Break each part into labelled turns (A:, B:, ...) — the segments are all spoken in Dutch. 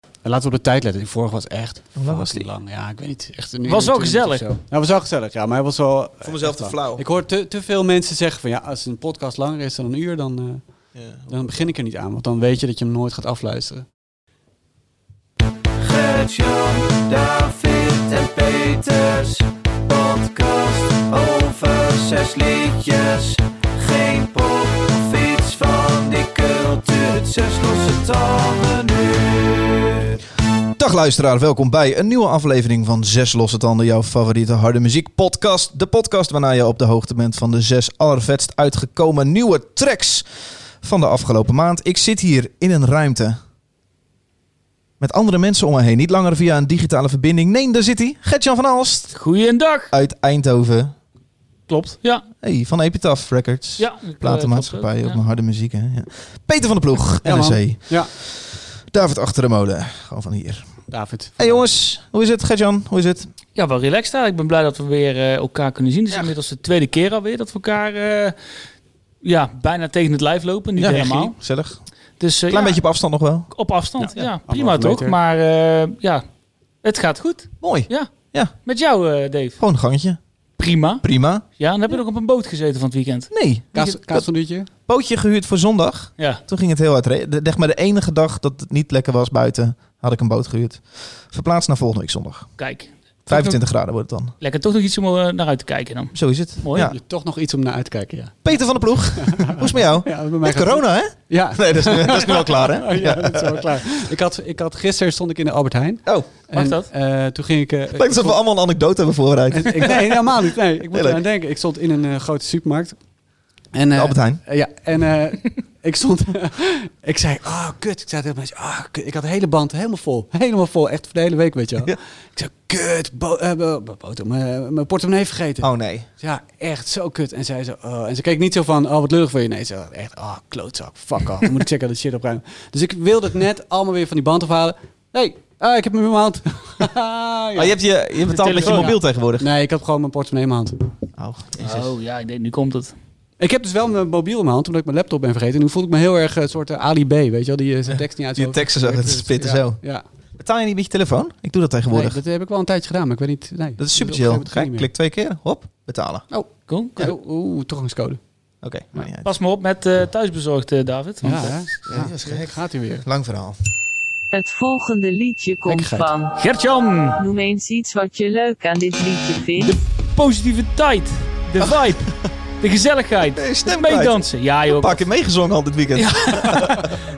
A: Eh, Laten we op de tijd letten. Die vorige was echt
B: Hoe lang was
A: fucking
B: die?
A: lang. Ja, ik weet niet. Echt een uur
C: Was
A: en
C: wel
A: 20 of
C: gezellig.
A: zo. Nou, was wel gezellig, ja. Maar hij was wel... Ik
B: vond mezelf te flauw.
A: Ik hoor te, te veel mensen zeggen van... Ja, als een podcast langer is dan een uur, dan, eh,
B: Ja.
A: dan begin ik er niet aan. Want dan weet je dat je hem nooit gaat afluisteren.
D: Gert-Jan, David en Peters. Podcast over zes liedjes. Geen pop of iets van die cultuur. Zes losse tanden nu.
E: Dag luisteraar, welkom bij een nieuwe aflevering van Zes Losse Tanden, jouw favoriete harde muziek podcast. De podcast waarna je op de hoogte bent van de zes allervetst uitgekomen nieuwe tracks van de afgelopen maand. Ik zit hier in een ruimte met andere mensen om me heen, niet langer via een digitale verbinding. Nee, daar zit hij, Gertjan van Alst
C: Goeiedag.
E: uit Eindhoven.
C: Klopt. Ja. eh,
E: Hey, van Epitaph Records.
C: ja
E: Platenmaatschappij op mijn harde muziek. Hè? Ja. Peter van de Ploeg,
A: Ja, man.
E: NRC.
A: Ja.
E: David Achter de Molen, gewoon van hier.
A: David.
E: Hey jongens, hoe is het? Gertjan, hoe is het?
C: Ja, wel relaxed eigenlijk. Ik ben blij dat we weer eh, elkaar kunnen zien. Het is
E: Ja.
C: inmiddels de tweede keer alweer dat we elkaar eh, ja, bijna tegen het lijf lopen. Niet
E: Ja,
C: helemaal.
E: Gezellig.
C: Dus eh, ja,
E: Klein beetje op afstand nog wel.
C: op afstand. Ja,
A: Ja, ja.
C: prima
A: Anderhalve
C: toch?
A: meter.
C: Maar eh, ja, het gaat goed.
E: Mooi.
C: Met jou, eh, Dave.
E: Gewoon een gangetje.
C: Prima.
E: Prima.
C: Ja, en dan heb je nog op een boot gezeten van het weekend.
E: Nee.
A: Kaas, kaas van duurtje?
E: Pootje gehuurd voor zondag.
C: Ja.
E: Toen ging het heel hard regenen. Zeg maar de enige dag dat het niet lekker was buiten, had ik een boot gehuurd. Verplaatst naar volgende week zondag.
C: Kijk,
E: 25 graden wordt het dan.
C: lekker toch nog iets om eh, naar uit te kijken dan.
E: Zo is het.
C: Mooi.
E: Ja.
A: Je toch nog iets om naar uit te kijken, ja.
E: Peter van de Ploeg, hoe is het met jou?
A: ja bij mij
E: Met
A: gaat-
E: corona, hè?
A: Ja.
E: Nee, dat is, nu- dat is nu al klaar, hè?
A: Oh, ja, dat is wel klaar. Ik had, ik had, gisteren stond ik in de Albert Heijn.
E: Oh,
C: Mag
A: En,
C: dat?
A: eh, toen ging ik... eh, ik
E: lijkt alsof we
A: stond-
E: allemaal een anekdote hebben voorbereid.
A: ik, nee, helemaal niet. Nee, ik moet
E: Heerlijk.
A: eraan denken. Ik stond in een eh, grote supermarkt. En, eh,
E: Albert Heijn.
A: Eh, Ja, en eh, ik stond... ik zei, ah, kut. Ik zei tegen mensen, ah, kut. Ik had de hele band helemaal vol. Helemaal vol. Echt voor de hele week, weet je wel.
E: Ja.
A: Ik zei, kut, bo- eh, bo- bo- boter, mijn mijn portemonnee vergeten.
E: Oh nee.
A: Ja, echt zo kut. En zij zo, oh. En ze keek niet zo van, oh, wat lullig voor je. Nee, ze was echt, oh, klootzak, fuck off. Dan moet ik checken dat shit opruimen. Dus ik wilde het net allemaal weer van die band afhalen. Nee, ah, ik heb hem in mijn hand. Ja.
E: Oh, je, hebt je, je betaalt met je
C: telefoon,
E: mobiel tegenwoordig.
A: Nee, ik heb gewoon mijn portemonnee in mijn hand.
E: Oh, jezus.
C: Oh ja, ik denk, nu komt het.
A: Ik heb dus wel mijn mobiel in mijn hand, omdat ik mijn laptop ben vergeten. En nu voel ik me heel erg een soort eh, Ali B, weet je wel, die eh, zijn tekst niet uit.
E: Die
A: zijn
E: teksten zo,
A: hoofd
E: dat
A: weet.
E: splitten
A: ja,
E: zo.
A: Ja,
E: Betaal je niet met je telefoon? Ik doe dat
A: nee,
E: tegenwoordig.
A: dat heb ik wel een tijdje gedaan, maar ik weet niet. Nee,
E: Dat is
A: op
E: super
A: een
E: chill.
A: gegeven
E: Kijk,
A: moment ging
E: klik twee keer. Hop, betalen.
C: Cool.
A: het niet meer. Oh, Oeh, toegangscode.
E: Oké. maakt niet uit.
C: Pas maar op met eh thuisbezorgd, eh, David. Want,
A: Ja,
C: eh,
A: hè?
E: Ja, die was
A: ja,
E: gek.
A: gaat hij weer.
E: Lang verhaal.
F: Het volgende liedje komt
A: Gekkigheid.
F: van.
C: Gert-Jan,
F: Noem eens iets wat je leuk aan dit liedje vindt.
C: positiviteit, de vibe, Oh. de gezelligheid,
E: Hey, stem kwijt.
C: meedansen. Ja joh,
E: Een paar keer meegezongen al dit weekend.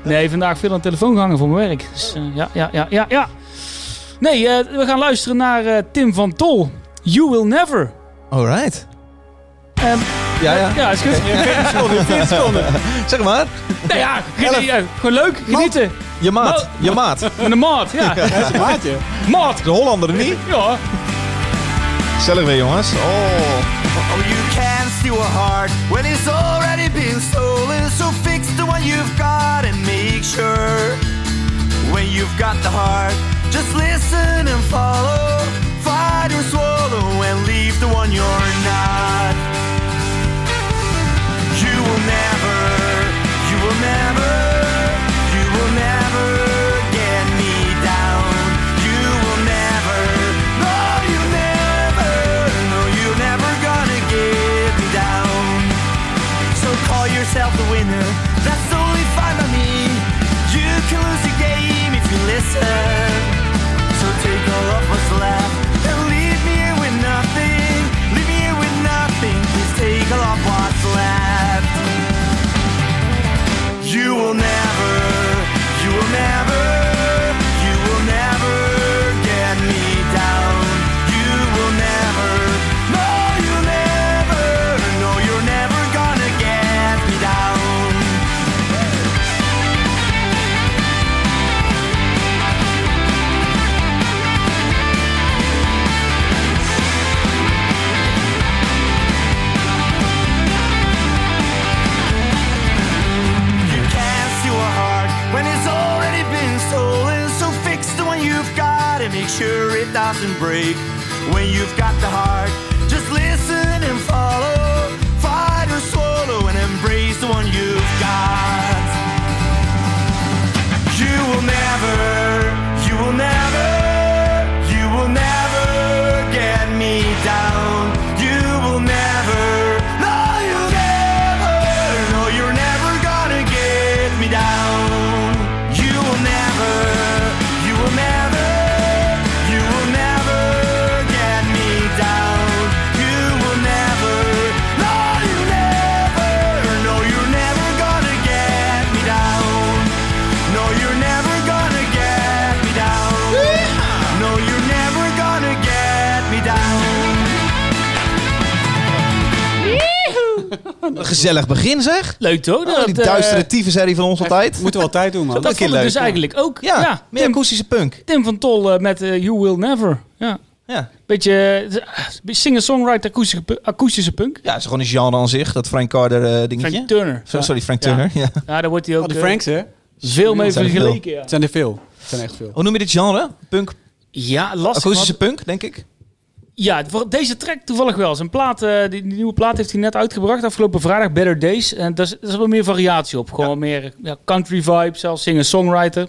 C: nee, vandaag veel aan de telefoon gehangen voor mijn werk. Dus, eh, ja, ja, ja, ja, ja. Nee, eh, we gaan luisteren naar eh, Tim van Tol. You Will Never.
E: Alright.
C: Ehm,
E: Ja, ja.
C: Ja, is goed. Oké, seconden, 10 seconden.
E: Zeg maar.
C: Nee, ja, geniet- eh, gewoon leuk, genieten.
E: Je maat. Je maat.
C: Met een maat, ja.
A: Maatje.
C: Maat.
E: De Hollander niet.
C: Ja.
E: Gezellig weer, jongens. Oh.
D: Oh, you can steal a heart when it's already been stolen. So fix the one you've got and make sure when you've got the heart, just listen and follow. Fight or swallow and leave the one you're not. You will never, you will never, you will never get me down. You will never, no, you never, no, you're never gonna get me down. So call yourself the winner, that's only fine by me. You can lose the game if you listen. So take all of what's left and leave me here with nothing. Leave me here with nothing, please take all of what's left. You will never, you will never, you will never get me down. You will never, no, you'll never, no, you're never gonna get me down. You can't steal a heart when it's already been stolen. So fix the one you've got and make sure it doesn't break. When you've got the heart, just listen and follow. Fight or swallow and embrace the one you've got. You will never, you will
E: Wat een gezellig begin zeg.
C: Leuk toch?
E: Oh, die
C: eh,
E: duistere tyfusherrie van ons altijd.
A: Echt, Moeten we altijd doen, man.
C: Dat
E: een keer
C: vond ik
E: leuk,
C: dus
E: ja.
C: eigenlijk ook.
E: Ja,
C: Ja,
E: meer
C: Tim,
E: akoestische punk.
C: Tim van Tol eh, met eh, You Will Never. Ja.
E: Ja.
C: Beetje eh, singer-songwriter akoestische, pu- akoestische punk.
E: ja, het is gewoon een genre aan zich, dat Frank Carter eh, dingetje.
C: Frank Turner.
E: Zo-
C: Ja.
E: Sorry, Frank
C: Ja.
E: Turner. Ja.
C: Ja, daar wordt hij ook
A: Oh, de
C: eh,
A: Franks, hè?
C: veel mee
E: Zijn er
C: vergeleken. Ja.
A: Het zijn er veel. Het zijn echt veel.
E: Hoe noem je dit genre? Punk,
C: ja, lastig.
E: akoestische
C: want-
E: punk, denk ik.
C: Ja, voor deze track toevallig wel. Zijn plaat, eh, die, die nieuwe plaat heeft hij net uitgebracht afgelopen vrijdag, Better Days. En daar is, daar is wel meer variatie op. Gewoon meer ja, country vibe, zelfs singer-songwriter.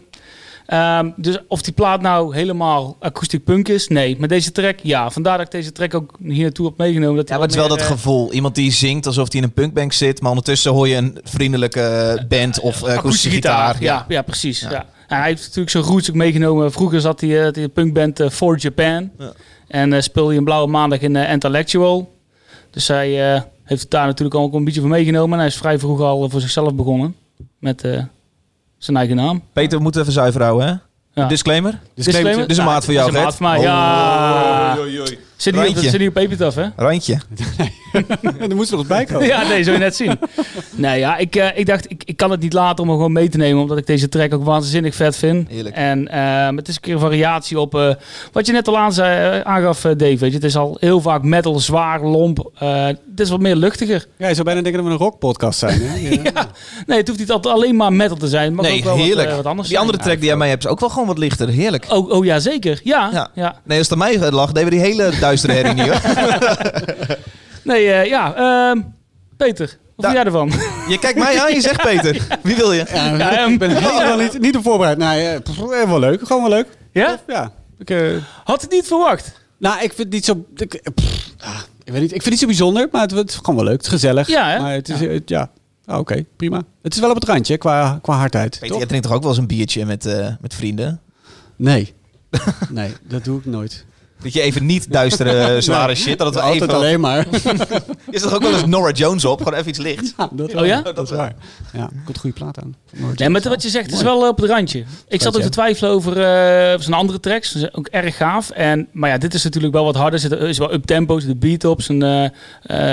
C: Ehm, dus of die plaat nou helemaal akoestiek punk is, nee. Maar deze track, ja. Vandaar dat ik deze track ook hier naartoe heb meegenomen. Dat
E: Ja, maar het is wel dat
C: gevoel.
E: gevoel. Iemand die zingt alsof hij in een punkbank zit, maar ondertussen hoor je een vriendelijke eh, band of eh, akoestische gitaar.
C: Ja,
E: Ja.
C: ja, precies. Ja. En hij heeft natuurlijk zijn roots ook meegenomen. Vroeger zat hij eh, die punkband eh, For Japan.
E: Ja.
C: En eh, speelde hij een blauwe maandag in eh, Intellectual. Dus hij eh, heeft het daar natuurlijk ook een beetje van meegenomen. En hij is vrij vroeg al eh, voor zichzelf begonnen. Met eh, zijn eigen naam.
E: Peter, we moeten even zuiver houden, hè?
C: Ja.
E: Disclaimer.
A: Disclaimer.
E: Dit is een
C: Nou,
E: maat voor
C: dit
E: jou, Oh.
C: is een
E: Gert.
C: maat voor mij, ja. Zit niet op,
E: Randje.
C: zit niet op Epitaph, hè?
E: Randje.
A: er moest er nog eens bij
E: Oh.
A: komen.
C: Ja, nee, zul je net zien. nee, ja, ik, eh, ik dacht, ik, ik kan het niet laten om hem gewoon mee te nemen, omdat ik deze track ook waanzinnig vet vind.
E: Heerlijk.
C: En ehm, het is een keer een variatie op eh, wat je net al aan zei, eh, aangaf, eh, Dave. Weet je, het is al heel vaak metal, zwaar, lomp. Eh het is wat meer luchtiger.
A: Ja, je zou bijna denken dat we een rockpodcast zijn. Hè? Ja.
C: Nee, het hoeft niet altijd alleen maar metal te zijn. Het mag ook
E: Nee,
C: wel wat,
E: heerlijk.
C: eh, wat anders
E: die
C: zijn.
E: andere track die jij mij hebt is ook wel gewoon wat lichter. Heerlijk.
C: Oh, oh ja, zeker. Ja,
E: Ja.
C: ja.
E: Nee, als het aan mij lag, deden we die hele duistere herrie niet, hoor.
C: Nee, eh, ja. ehm, Peter, wat
E: Da-
C: vind jij ervan?
E: Je kijkt mij aan, je zegt Peter. Wie wil je?
A: Ja,
C: Ja, ehm,
A: ik ben helemaal niet, niet op voorbereid. Nou, ja, pff, eh, wel leuk. Gewoon wel leuk.
C: ja?
A: Ja. Ik,
C: Had het niet verwacht.
A: nou, ik vind het niet zo... Ik, eh, pff, ah, ik weet niet. Ik vind het niet zo bijzonder, maar het, het is gewoon wel leuk. Het is gezellig.
C: Ja, hè?
A: Maar het is... eh, het- Ja. Ah, Oké, prima. Het is wel op het randje hè, qua, qua hardheid.
E: Peter,
A: toch?
E: jij drinkt toch ook wel eens een biertje met, eh, met vrienden?
A: Nee. nee, dat doe ik nooit.
E: Dat je even niet duistere, zware shit. Dat het wel
A: Altijd
E: even...
A: alleen maar.
E: Is er toch ook wel eens Norah Jones op? Gewoon even iets licht.
A: Ja, dat
C: Oh ja?
A: Dat is waar. Ja, komt goede plaat aan.
C: Nee, maar wat je zegt is wel eh, op het randje. Ik zat ook te twijfelen over eh, zijn andere tracks. Ze zijn ook erg gaaf. En, maar ja, dit is natuurlijk wel wat harder. Zit, er is wel up-tempo, zit de beat op. Zijn, eh, eh,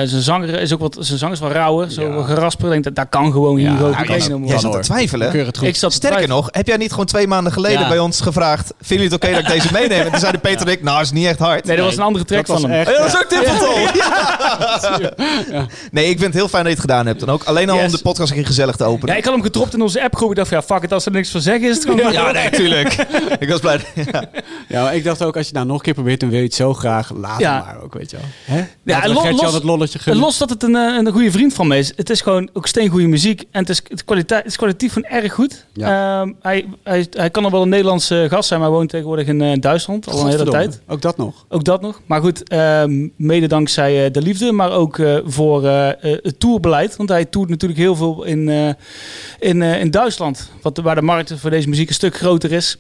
C: zijn, zanger is ook wat, zijn zang is wel rauwer. Zo
A: Ja.
C: gerasper. Ik denk dat, dat kan gewoon hier
A: Ja,
C: gewoon
A: nou,
C: meteen
A: dat-
C: om
E: Jij
A: Ja,
E: zat te
A: hoor.
E: twijfelen.
A: Keur het goed.
C: Ik zat te
E: Sterker
C: twijfelen.
E: nog, heb jij niet gewoon twee maanden geleden
C: Ja.
E: bij ons gevraagd... Vinden jullie het oké dat ik deze meeneem? En toen zeiden Peter en ik, nou, is niet echt hard.
C: Nee, dat was een andere track
A: Dat was
C: van hem.
A: echt...
E: Oh, dat is ook Tim van Tol. Ja. Nee, ik vind het heel fijn dat je het gedaan hebt. En ook alleen al om
C: Yes.
E: de podcast een keer gezellig te
C: Ja,
E: openen.
C: ik had hem gedropt in onze appgroep. Ik dacht, van, ja, fuck het, als er niks van zeggen is. Het gewoon...
E: Ja, nee, tuurlijk. ik was blij. Ja.
A: Ja, maar ik dacht ook, als je het nou nog een keer probeert, dan wil je het zo graag. Laat
C: Ja.
A: het maar ook, weet je wel. Hè?
C: Ja,
A: Ja,
C: en lo-
A: los,
C: los-
A: los, dat lolletje
C: En
A: gunnen.
C: los dat het een, eh, een goede vriend van me is, het is gewoon ook steengoede muziek. En het is, het kwalita- het is kwalitatief van erg goed.
A: Ja.
C: Ehm, hij, hij, hij kan al wel een Nederlandse gast zijn, maar hij woont tegenwoordig in eh, Duitsland al een hele
A: Godverdomme.
C: tijd.
A: Ook dat nog.
C: Ook dat nog. Maar goed, ehm, mede dankzij eh, de liefde, maar ook eh, voor eh, eh, het tourbeleid. Want hij toert natuurlijk heel veel in, eh, in, eh, in Duitsland, wat, waar de markt voor deze muziek een stuk groter is.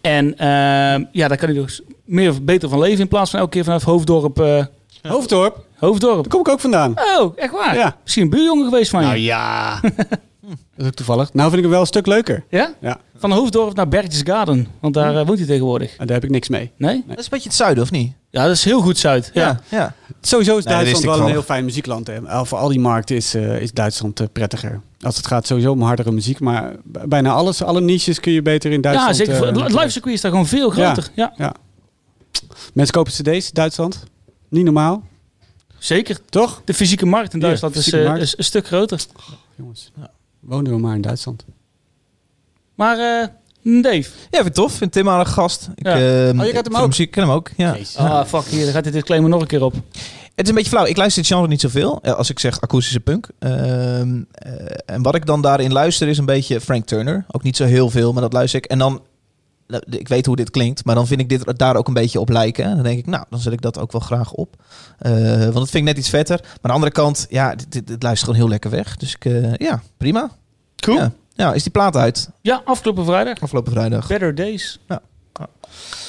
C: En ehm, ja, daar kan hij dus meer of beter van leven in plaats van elke keer vanaf Hoofddorp. eh,
A: Hoofddorp, daar
C: Hoofddorp.
A: kom ik ook vandaan.
C: Oh, echt waar?
A: Ja.
C: Misschien een buurjongen geweest van je.
A: Nou ja. dat is ook toevallig. Nou vind ik hem wel een stuk leuker.
C: ja?
A: Ja, Hm.
C: Van Hoofddorp naar Berchtesgaden, want daar eh, woont hij tegenwoordig.
A: en Ah, daar heb ik niks mee.
C: Nee?
E: Dat is een beetje het zuiden, of niet?
C: Ja, dat is heel goed Zuid. Ja.
E: ja.
A: Sowieso is
E: Nee, dat wist
A: Duitsland
E: ik
A: wel een
E: wel.
A: heel fijn muziekland. En eh, voor al die markten is, eh, is Duitsland eh, prettiger. Als het gaat sowieso om hardere muziek. Maar b- bijna alles, alle niches kun je beter in
C: Ja,
A: Duitsland...
C: zeker.
A: eh,
C: Voor- het live circuit is daar gewoon veel groter. Ja,
A: Mensen kopen cd's, Duitsland. Niet normaal,
C: zeker.
A: toch?
C: De fysieke markt in
A: Ja,
C: Duitsland is,
A: fysieke
C: eh,
A: markt.
C: is een stuk groter.
A: Jongens, wonen we maar in Duitsland.
C: Maar eh, Dave.
E: Ja, vind het tof. Vind Tim aardig gast. Ik,
C: Ja.
E: ehm,
A: kent hem
E: ik vind
A: ook?
E: Muziek, ik ken hem ook, ja.
A: Jezus.
C: Ah, fuck hier, dan gaat dit disclaimer nog een keer op.
E: Het is een beetje flauw. Ik luister dit genre niet zoveel. Eh, Als ik zeg akoestische punk. Ehm, eh, en wat ik dan daarin luister is een beetje Frank Turner. Ook niet zo heel veel, maar dat luister ik. En dan, nou, ik weet hoe dit klinkt, maar dan vind ik dit daar ook een beetje op lijken. En dan denk ik, nou, dan zet ik dat ook wel graag op. Eh, want dat vind ik net iets vetter. Maar aan de andere kant, ja, dit, dit, dit luistert gewoon heel lekker weg. Dus ik, eh, ja, prima.
C: Cool.
E: Ja. Ja, is die plaat uit
C: Ja, afgelopen vrijdag.
E: afgelopen vrijdag?
C: Better Days.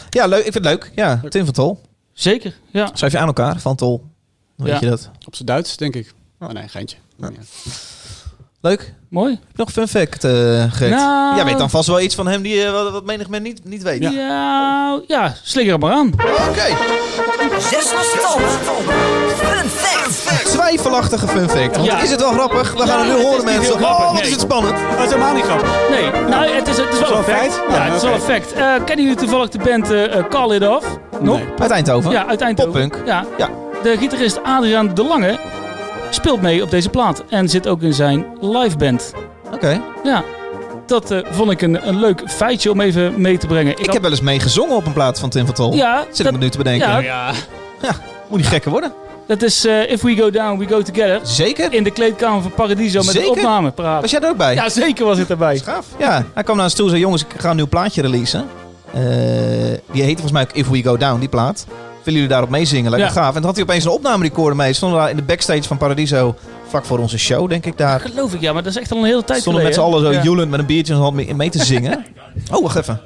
E: Ja, leuk. Ik vind het leuk. Ja, Tim van Tol.
C: Zeker, ja.
E: Schrijf je aan elkaar, Van Tol. Dan weet
C: Ja.
E: je dat.
A: Op zijn Duits, denk ik. Oh nee, geintje. Ja. Oh,
E: Leuk.
C: Mooi.
E: Heb je nog een fun fact, eh Geert?
C: Nou.
E: Jij weet dan vast wel iets van hem die, eh, wat, wat menig men niet, niet weet.
C: Ja, ja, slinger er maar aan.
E: Oké.
G: Zes van stom. Fun fact.
E: Twijfelachtige fun fact. Want
C: Ja.
E: is het wel grappig? We gaan het nu
C: het
E: horen,
C: is niet
E: mensen.
C: heel grappig,
E: oh, wat
C: nee.
E: is het spannend.
A: Dat is helemaal niet grappig.
C: Nee, nou, het is, het is wel
A: wel
C: een
A: een
C: fact.
A: feit?
C: Ja,
A: Nou,
C: het is wel een
A: oké.
C: fact. Eh, kennen jullie toevallig de band eh, eh, Call It Off? Nog?
A: Nee.
E: Uit Eindhoven.
C: Ja, uit Eindhoven.
E: Poppunk.
C: Ja.
E: Ja.
C: De gitarist Adriaan De Lange speelt mee op deze plaat en zit ook in zijn live band.
E: Oké.
C: Ja, dat eh, vond ik een, een leuk feitje om even mee te brengen.
E: Ik heb wel eens meegezongen op een plaat van Tim van Tol.
C: Ja,
E: Zit
C: dat-
E: ik me nu te bedenken.
C: Ja.
E: Moet niet gekker worden.
C: Dat is eh, If We Go Down, We Go Together.
E: Zeker?
C: In de kleedkamer van Paradiso met
E: Zeker?
C: de opname praten.
E: Was jij er ook bij?
C: Ja, zeker was het erbij.
E: Gaaf. Ja, hij kwam naar ons toe en zei, jongens, ik ga een nieuw plaatje releasen. Eh, die heette volgens mij ook If We Go Down, die plaat. Willen jullie daarop meezingen? Lekker
C: Ja.
E: gaaf. En toen had hij opeens een opnamerecorder mee. Stonden we daar in de backstage van Paradiso, vlak voor onze show, denk ik daar.
C: Geloof ik, ja, maar dat is echt al een hele tijd
E: Stonden met z'n
C: geleden.
E: allen zo
C: Ja.
E: joelend met een biertje in de hand mee, mee te zingen. Oh, wacht even.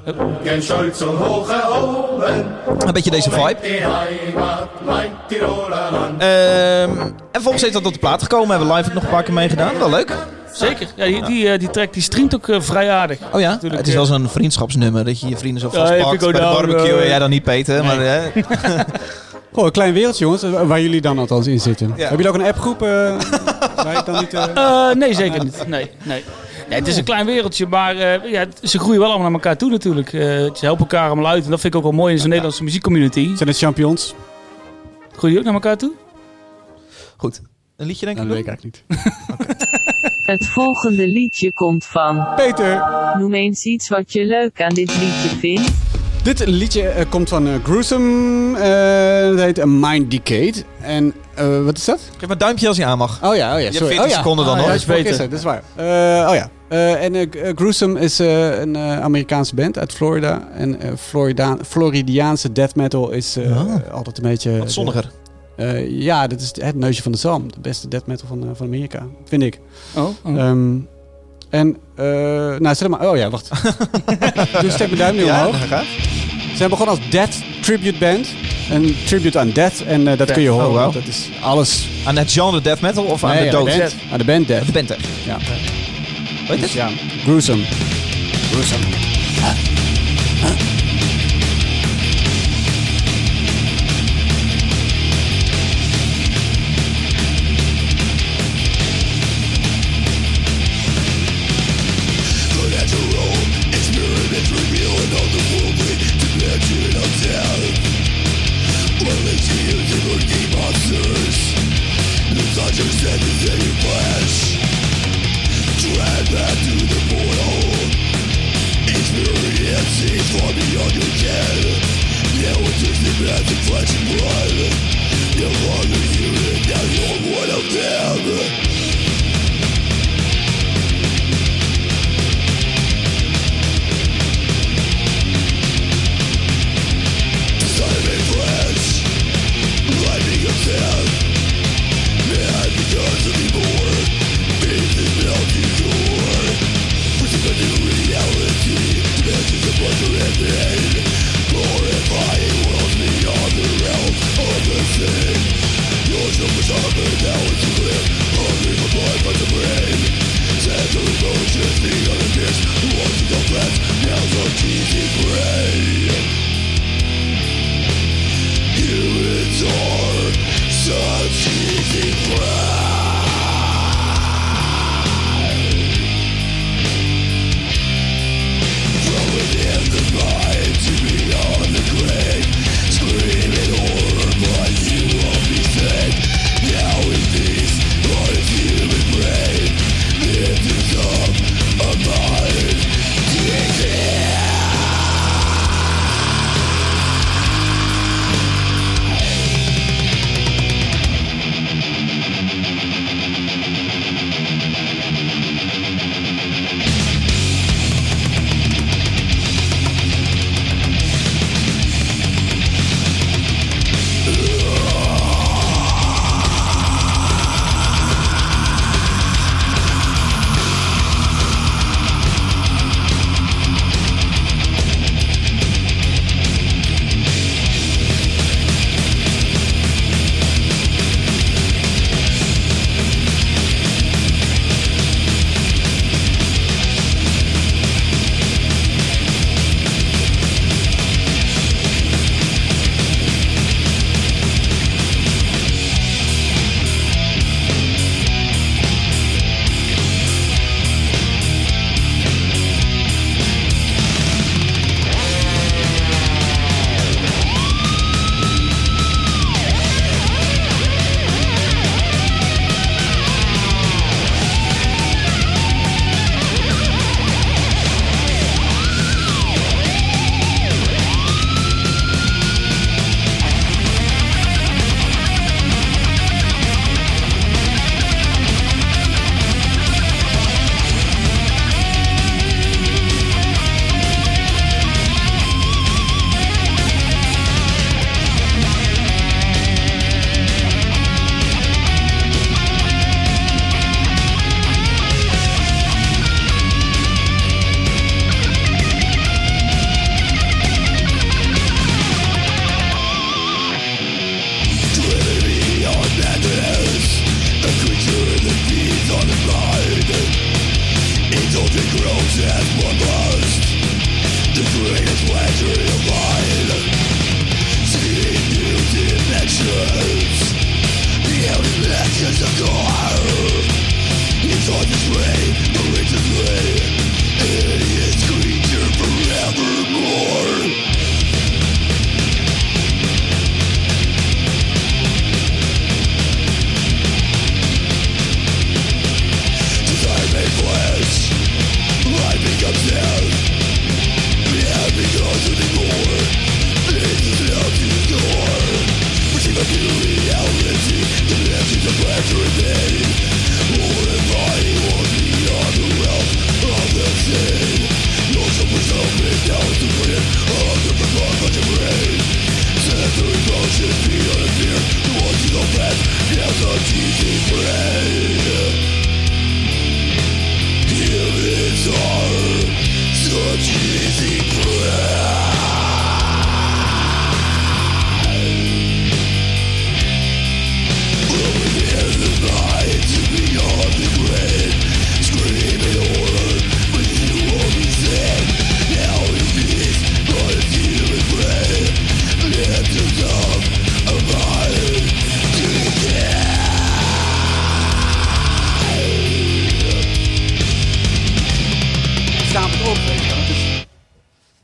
G: Gen Schuld zum hohen Oben,
E: Een beetje deze vibe.
G: die Heimat, mein Tiroler Land.
E: Ehm, en volgens is dat op de plaat gekomen. Hebben we live ook nog een paar keer meegedaan. Wel leuk.
C: Zeker. Ja, die, die, eh, die track die streamt ook eh, vrij aardig.
E: Oh ja,
C: Natuurlijk,
E: het is
C: eh,
E: wel zo'n vriendschapsnummer. Dat je je vrienden zo
C: Ja, if we
E: vastpakt
C: go
E: bij de
C: down,
E: barbecue.
C: eh,
E: Jij dan niet, Peter. Maar, eh,
A: Goh, een klein wereldje, jongens. eh, Waar jullie dan althans in zitten. Hebben jullie ook een appgroep? eh waar ik dan niet... eh,
C: Eh, nee, zeker niet. Nee, nee. Nee, het is een klein wereldje, maar eh, ja, het- ze groeien wel allemaal naar elkaar toe natuurlijk. Eh, ze helpen elkaar allemaal uit en dat vind ik ook wel mooi in zo'n Nederlandse muziekcommunity.
A: Zijn het champions?
C: Groeien jullie ook naar elkaar toe?
E: goed. Een liedje denk ik.
A: Nou, dat
E: nog?
A: weet ik eigenlijk niet.
F: Het volgende liedje komt van.
A: Peter!
F: Noem eens iets wat je leuk aan dit liedje vindt.
A: Dit liedje eh, komt van eh, Gruesome. eh dat heet eh, Mind Decade. En eh, wat is dat?
E: Geef maar een duimpje als je aan mag.
A: Oh ja, oh ja.
E: hebt
A: Sorry.
E: 40
A: oh, ja.
E: seconden dan
A: oh,
E: nog.
A: Ja,
C: Dat is
A: Spock
C: beter.
A: is het, dat is waar. Eh, oh ja. Eh, en eh, G- eh, Gruesome is eh, een eh, Amerikaanse band uit Florida. En eh, Florida Floridiaanse death metal is eh,
E: Ah.
A: altijd een beetje...
E: Wat zonniger.
A: Eh, ja, dat is het, het neusje van de zalm. De beste death metal van, eh, van Amerika, vind ik.
C: Oh,
A: Ehm, en, eh, nou, zeg maar... Oh ja, wacht. Doe steek mijn duim nu omhoog.
E: gaat.
A: Ze zijn begonnen als Death Tribute Band. Een tribute aan Death. En eh, dat kun je horen.
E: Oh, wauw.
A: want Dat is alles
E: Aan het genre death metal of aan
A: Nee,
E: de
A: aan
E: dood?
A: de band. Aan de band Death.
E: De band er.
A: Ja. Dus
E: Weet het?
A: ja, gruesome. Gruesome.
D: From within the mind, you
A: Stapend op. weet je wel. Het is-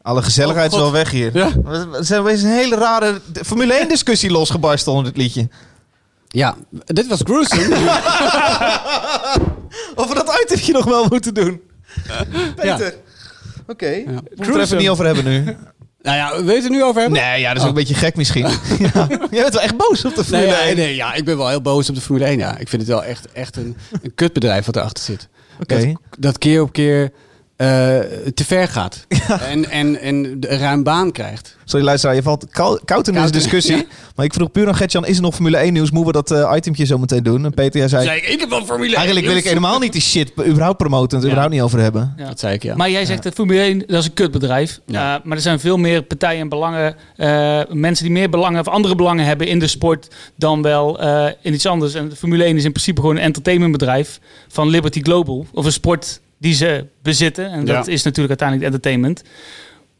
E: Alle gezelligheid
A: Oh,
E: is
A: God.
E: wel weg hier.
A: Ja.
E: We zijn we is een hele rare de- Formule 1 discussie losgebarsten onder dit liedje.
A: Ja, dit was gruesome.
E: Of we dat itemje nog wel moeten doen.
A: ja.
E: Peter. Oké. We moeten het er even
A: Gruesome.
E: niet over hebben nu.
A: Nou ja, wil je het er nu over hebben?
E: Nee, ja, dat is ook een beetje gek misschien. ja. Jij bent wel echt boos op de
A: Oh. Nee,
E: Formule
A: nee,
E: 1.
A: nee, ja, ik ben wel heel boos op de Formule 1. Ja. Ik vind het wel echt, echt een, een kutbedrijf wat erachter zit.
E: Oké.
A: Dat, dat keer op keer eh, te ver gaat. En, en, en de ruim baan krijgt.
E: Sorry luisteraar, je valt kou- koud in deze
A: Koud in,
E: discussie. Maar ik vroeg puur aan Gertjan, is er nog Formule 1 nieuws? Moeten we dat eh, itempje zo meteen doen? En Peter, jij zei...
A: Zei ik, ik heb wel Formule 1.
E: Eigenlijk wil ik helemaal niet die shit be- überhaupt promoten. en Het
C: Ja.
E: überhaupt niet over hebben.
C: Ja.
A: Dat zei ik, ja.
C: Maar jij zegt dat Formule 1 dat is een kutbedrijf.
A: Ja.
C: Eh, maar er zijn veel meer partijen en belangen. eh, mensen die meer belangen of andere belangen hebben in de sport dan wel eh, in iets anders. En Formule 1 is in principe gewoon een entertainmentbedrijf van Liberty Global. Of een sport die ze bezitten. En
A: Ja.
C: dat is natuurlijk uiteindelijk entertainment.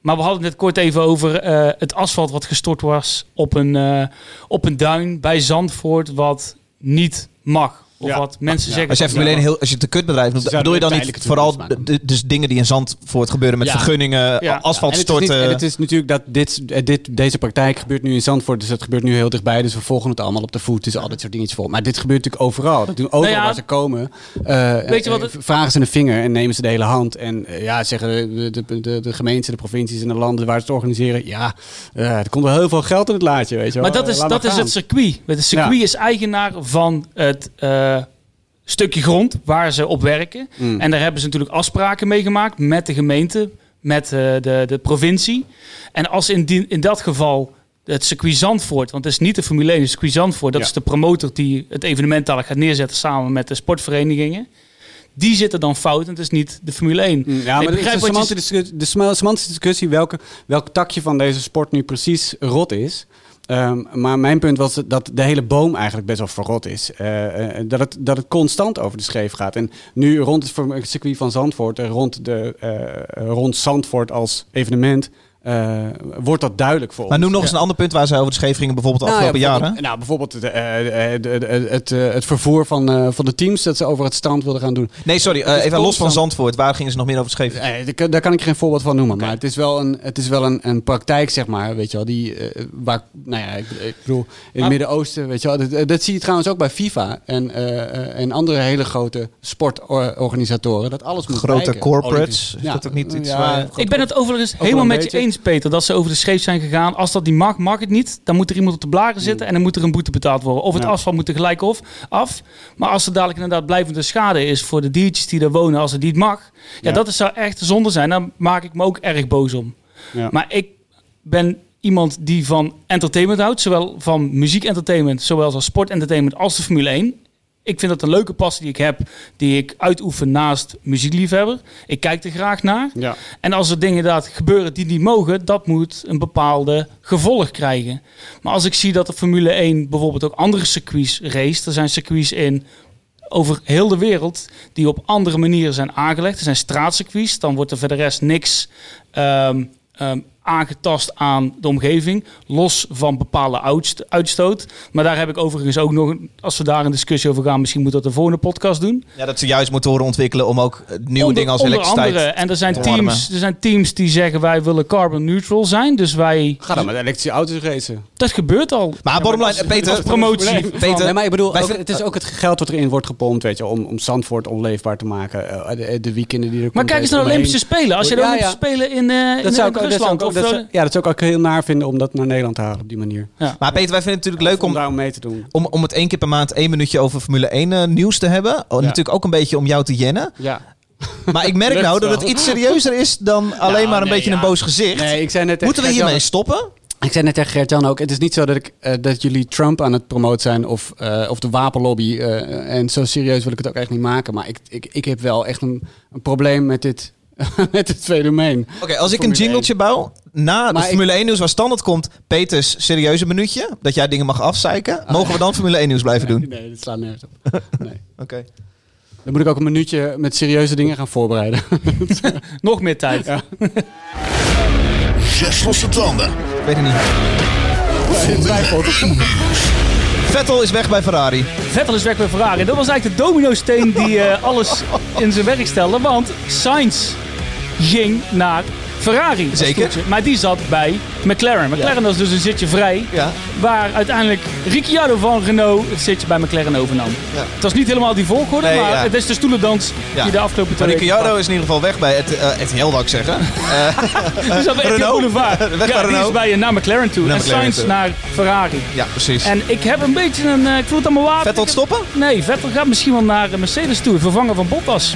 C: Maar we hadden het net kort even over eh, het asfalt wat gestort was op een, eh, op een duin bij Zandvoort. Wat niet mag. Of
A: Ja.
C: wat mensen
A: Ja.
C: zeggen.
E: Als je
C: dat
E: even alleen
C: wel mag.
E: heel, als je het een kutbedrijf noemt,
A: Ze zouden
E: bedoel je dan
A: een
E: niet
A: tijdelijke
E: vooral
A: toekomst maken.
E: de- dus dingen die in Zandvoort gebeuren met
A: Ja.
E: vergunningen,
C: Ja.
E: asfalt eh,
A: en het, is
E: storten?
A: niet- en het is natuurlijk dat dit, eh, dit, deze praktijk gebeurt nu in Zandvoort. Dus dat gebeurt nu heel dichtbij. Dus we volgen het allemaal op de voet. Dus al dit soort dingetjes voor. Maar dit gebeurt natuurlijk overal. Dat doen overal
C: Nou ja,
A: waar ze komen.
C: weet
A: Weet
C: je wat het-
A: Vragen ze een vinger en nemen ze de hele hand. En eh, ja, zeggen de, de, de, de gemeenten, de provincies en de landen waar ze het organiseren. Ja, eh, er komt wel heel veel geld in het laadje. Weet je
C: Maar
A: wel.
C: dat is,
A: Eh, laat
C: dat is
A: gaan.
C: het circuit. Het circuit
A: Ja.
C: is eigenaar van het eh, stukje grond waar ze op werken.
A: Mm.
C: En daar hebben ze natuurlijk afspraken mee gemaakt met de gemeente, met eh, de, de provincie. En als in, die, in dat geval het circuit Zandvoort, want het is niet de Formule 1, het circuit Zandvoort, dat
A: Ja.
C: is de promotor die het evenement dadelijk gaat neerzetten samen met de sportverenigingen. Die zitten dan fout en het is niet de Formule 1.
A: Mm, Ja,
C: Ik
A: maar
C: begrijp
A: de,
C: wat je
A: semantische discussie, de sma- semantische discussie welke, welk takje van deze sport nu precies rot is. Ehm, maar mijn punt was dat de hele boom eigenlijk best wel verrot is. Eh, eh, dat, het, dat het constant over de scheef gaat. En nu rond het vorm- het circuit van Zandvoort, en rond, de, eh, rond Zandvoort als evenement, eh, wordt dat duidelijk voor
E: maar
A: ons.
E: noem nog eens een ander punt waar zij over de scheef gingen, bijvoorbeeld de
A: Nou ja,
E: afgelopen jaren.
A: bijvoorbeeld- Nou, bijvoorbeeld het, eh, eh, de- de- het, eh, het vervoer van, eh, van de teams dat ze over het strand wilden gaan doen.
E: Nee, sorry, eh,
A: Het is
E: even los van
A: constant-
E: Zandvoort. Waar gingen ze nog meer over de scheef?
A: Nee, daar kan- daar kan ik geen voorbeeld van noemen. Maar het is wel, een, het is wel een, een praktijk, zeg maar, weet je wel, die, eh, waar, nou ja, ik, ik bedoel, in het
C: Maar-
A: Midden-Oosten, weet je wel, dat, dat zie je trouwens ook bij FIFA en, eh, eh, en andere hele grote sportorganisatoren, dat alles moet
E: Grote
A: wijken.
E: corporates,
A: Olympisch.
E: is dat ook niet iets
A: ja,
E: waar-
A: grote
C: Ik ben het overigens
A: wel
C: helemaal
A: een
C: met je
A: beetje.
C: eens, Peter, dat ze over de scheef zijn gegaan. Als dat niet mag, mag het niet. Dan moet er iemand op de blaren zitten en dan moet er een boete betaald worden. Of het
A: Mm. Ja.
C: asfalt moet er gelijk of af. Maar als er dadelijk inderdaad blijvende schade is voor de diertjes die daar wonen, als het niet mag. Ja,
A: Ja.
C: dat is, zou echt zonde zijn. Daar maak ik me ook erg boos om.
A: Ja.
C: Maar ik ben iemand die van entertainment houdt. Zowel van muziekentertainment, zowel als sportentertainment als de Formule 1. Ik vind dat een leuke passie die ik heb, die ik uitoefen naast muziekliefhebber. Ik kijk er graag naar.
A: Ja.
C: En als er dingen inderdaad gebeuren die niet mogen, dat moet een bepaalde gevolg krijgen. Maar als ik zie dat de Formule 1 bijvoorbeeld ook andere circuits race, er zijn circuits in over heel de wereld die op andere manieren zijn aangelegd. Er zijn straatcircuits, dan wordt er verder rest niks ehm, ehm, aangetast aan de omgeving, los van bepaalde uitst- uitstoot. Maar daar heb ik overigens ook nog, een- als we daar een discussie over gaan, misschien moet dat de volgende podcast doen.
E: Ja, dat ze juist motoren ontwikkelen om ook eh, nieuwe
C: Onder-
E: dingen als
C: onder
E: elektriciteit...
C: andere. En er zijn,
E: te warmen.
C: teams, er zijn teams die zeggen wij willen carbon neutral zijn. Dus wij.
A: Ga dan met elektrische auto's racen.
C: Dat gebeurt al.
E: Maar bottomline, eh, Peter...
C: als promotie.
E: Peter,
A: Nee, maar ik bedoel,
E: wij
A: ook-
E: vinden-
A: het is ook het geld wat erin wordt gepompt, weet je, om, om Zandvoort onleefbaar te maken. eh, de, de weekenden die er
C: Maar
A: komt, weet
C: kijk eens naar
A: je,
C: de
A: omheen.
C: Olympische Spelen. Als je de
A: Ja,
C: Olympische
A: ja.
C: Spelen in, eh, in,
A: Dat zou, ik, ook- dat
C: in
A: zou ik
C: Rusland
A: ook,
C: of eh,
A: dat
C: zo-
A: zou- ja, dat zou ik ook heel naar vinden om dat naar Nederland te halen op die manier.
E: maar Peter, wij vinden het natuurlijk leuk
A: Om
E: om,
A: daar mee te doen.
E: om, om het één keer per maand één minuutje over Formule 1 eh, nieuws te hebben. Oh, Natuurlijk ook een beetje om jou te jennen.
A: Ja.
E: Maar ik merk
A: Lukt
E: nou dat
A: wel. Nou,
E: het iets serieuzer is dan alleen maar een
A: nee,
E: beetje een
A: ja.
E: boos gezicht.
A: Nee, ik zei net tegen
E: Moeten we
A: Gert-Jan-
E: hiermee stoppen?
A: Ik zei net tegen Gert-Jan ook, het is niet zo dat, ik, eh, dat jullie Trump aan het promoten zijn of, eh, of de wapenlobby. eh, en zo serieus wil ik het ook echt niet maken. Maar ik, ik, ik heb wel echt een, een probleem met dit, met dit fenomeen.
E: Oké, als ik een
A: Formule
E: jingletje bouw na
A: Maar
E: de
A: ik-
E: Formule 1 nieuws waar standaard komt, Peters serieuze minuutje, dat jij dingen mag afzeiken, mogen we dan Formule 1 nieuws blijven doen?
A: Nee, dat slaat nergens op. Nee.
E: Oké.
A: Dan moet ik ook een minuutje met serieuze dingen gaan voorbereiden.
C: Nog meer tijd.
D: Zes losse tanden.
E: Ik weet het niet. Vettel is weg bij Ferrari.
C: Vettel is weg bij Ferrari. Dat was eigenlijk de dominosteen die eh, alles in zijn werk stelde. Want Sainz ging naar Ferrari. als
E: Zeker.
C: toetje. Maar die zat bij McLaren. McLaren was dus een zitje vrij.
E: Ja.
C: Waar uiteindelijk Ricciardo van Renault het zitje bij McLaren overnam.
E: Ja.
C: Het was niet helemaal die volgorde,
E: Nee,
C: maar
E: ja.
C: het is de stoelendans
E: Ja.
C: die de afgelopen
E: Maar
C: twee
E: Ricciardo is in ieder geval weg bij het, eh RTL, wou ik zeggen.
C: Die zat bij RTL
E: eh, Renault.
C: Boulevard.
E: Weg bij
C: ja, die
E: Renault.
C: is bij, eh, naar McLaren toe.
E: Naar
C: en
E: McLaren
C: Sainz
E: toe.
C: naar Ferrari.
E: Ja, precies.
C: En ik heb een beetje een... eh, ik voel het allemaal water.
E: Vettel
C: Ik
E: te
C: heb-
E: stoppen?
C: Nee, Vettel gaat misschien wel naar eh, Mercedes toe. het Vervangen van Bottas.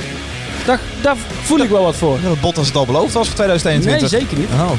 C: Daar, daar voel ik wel wat voor.
E: Ja, dat Bottas het al beloofd was voor
C: Nee,
E: 2021.
C: zeker niet.
E: Oh.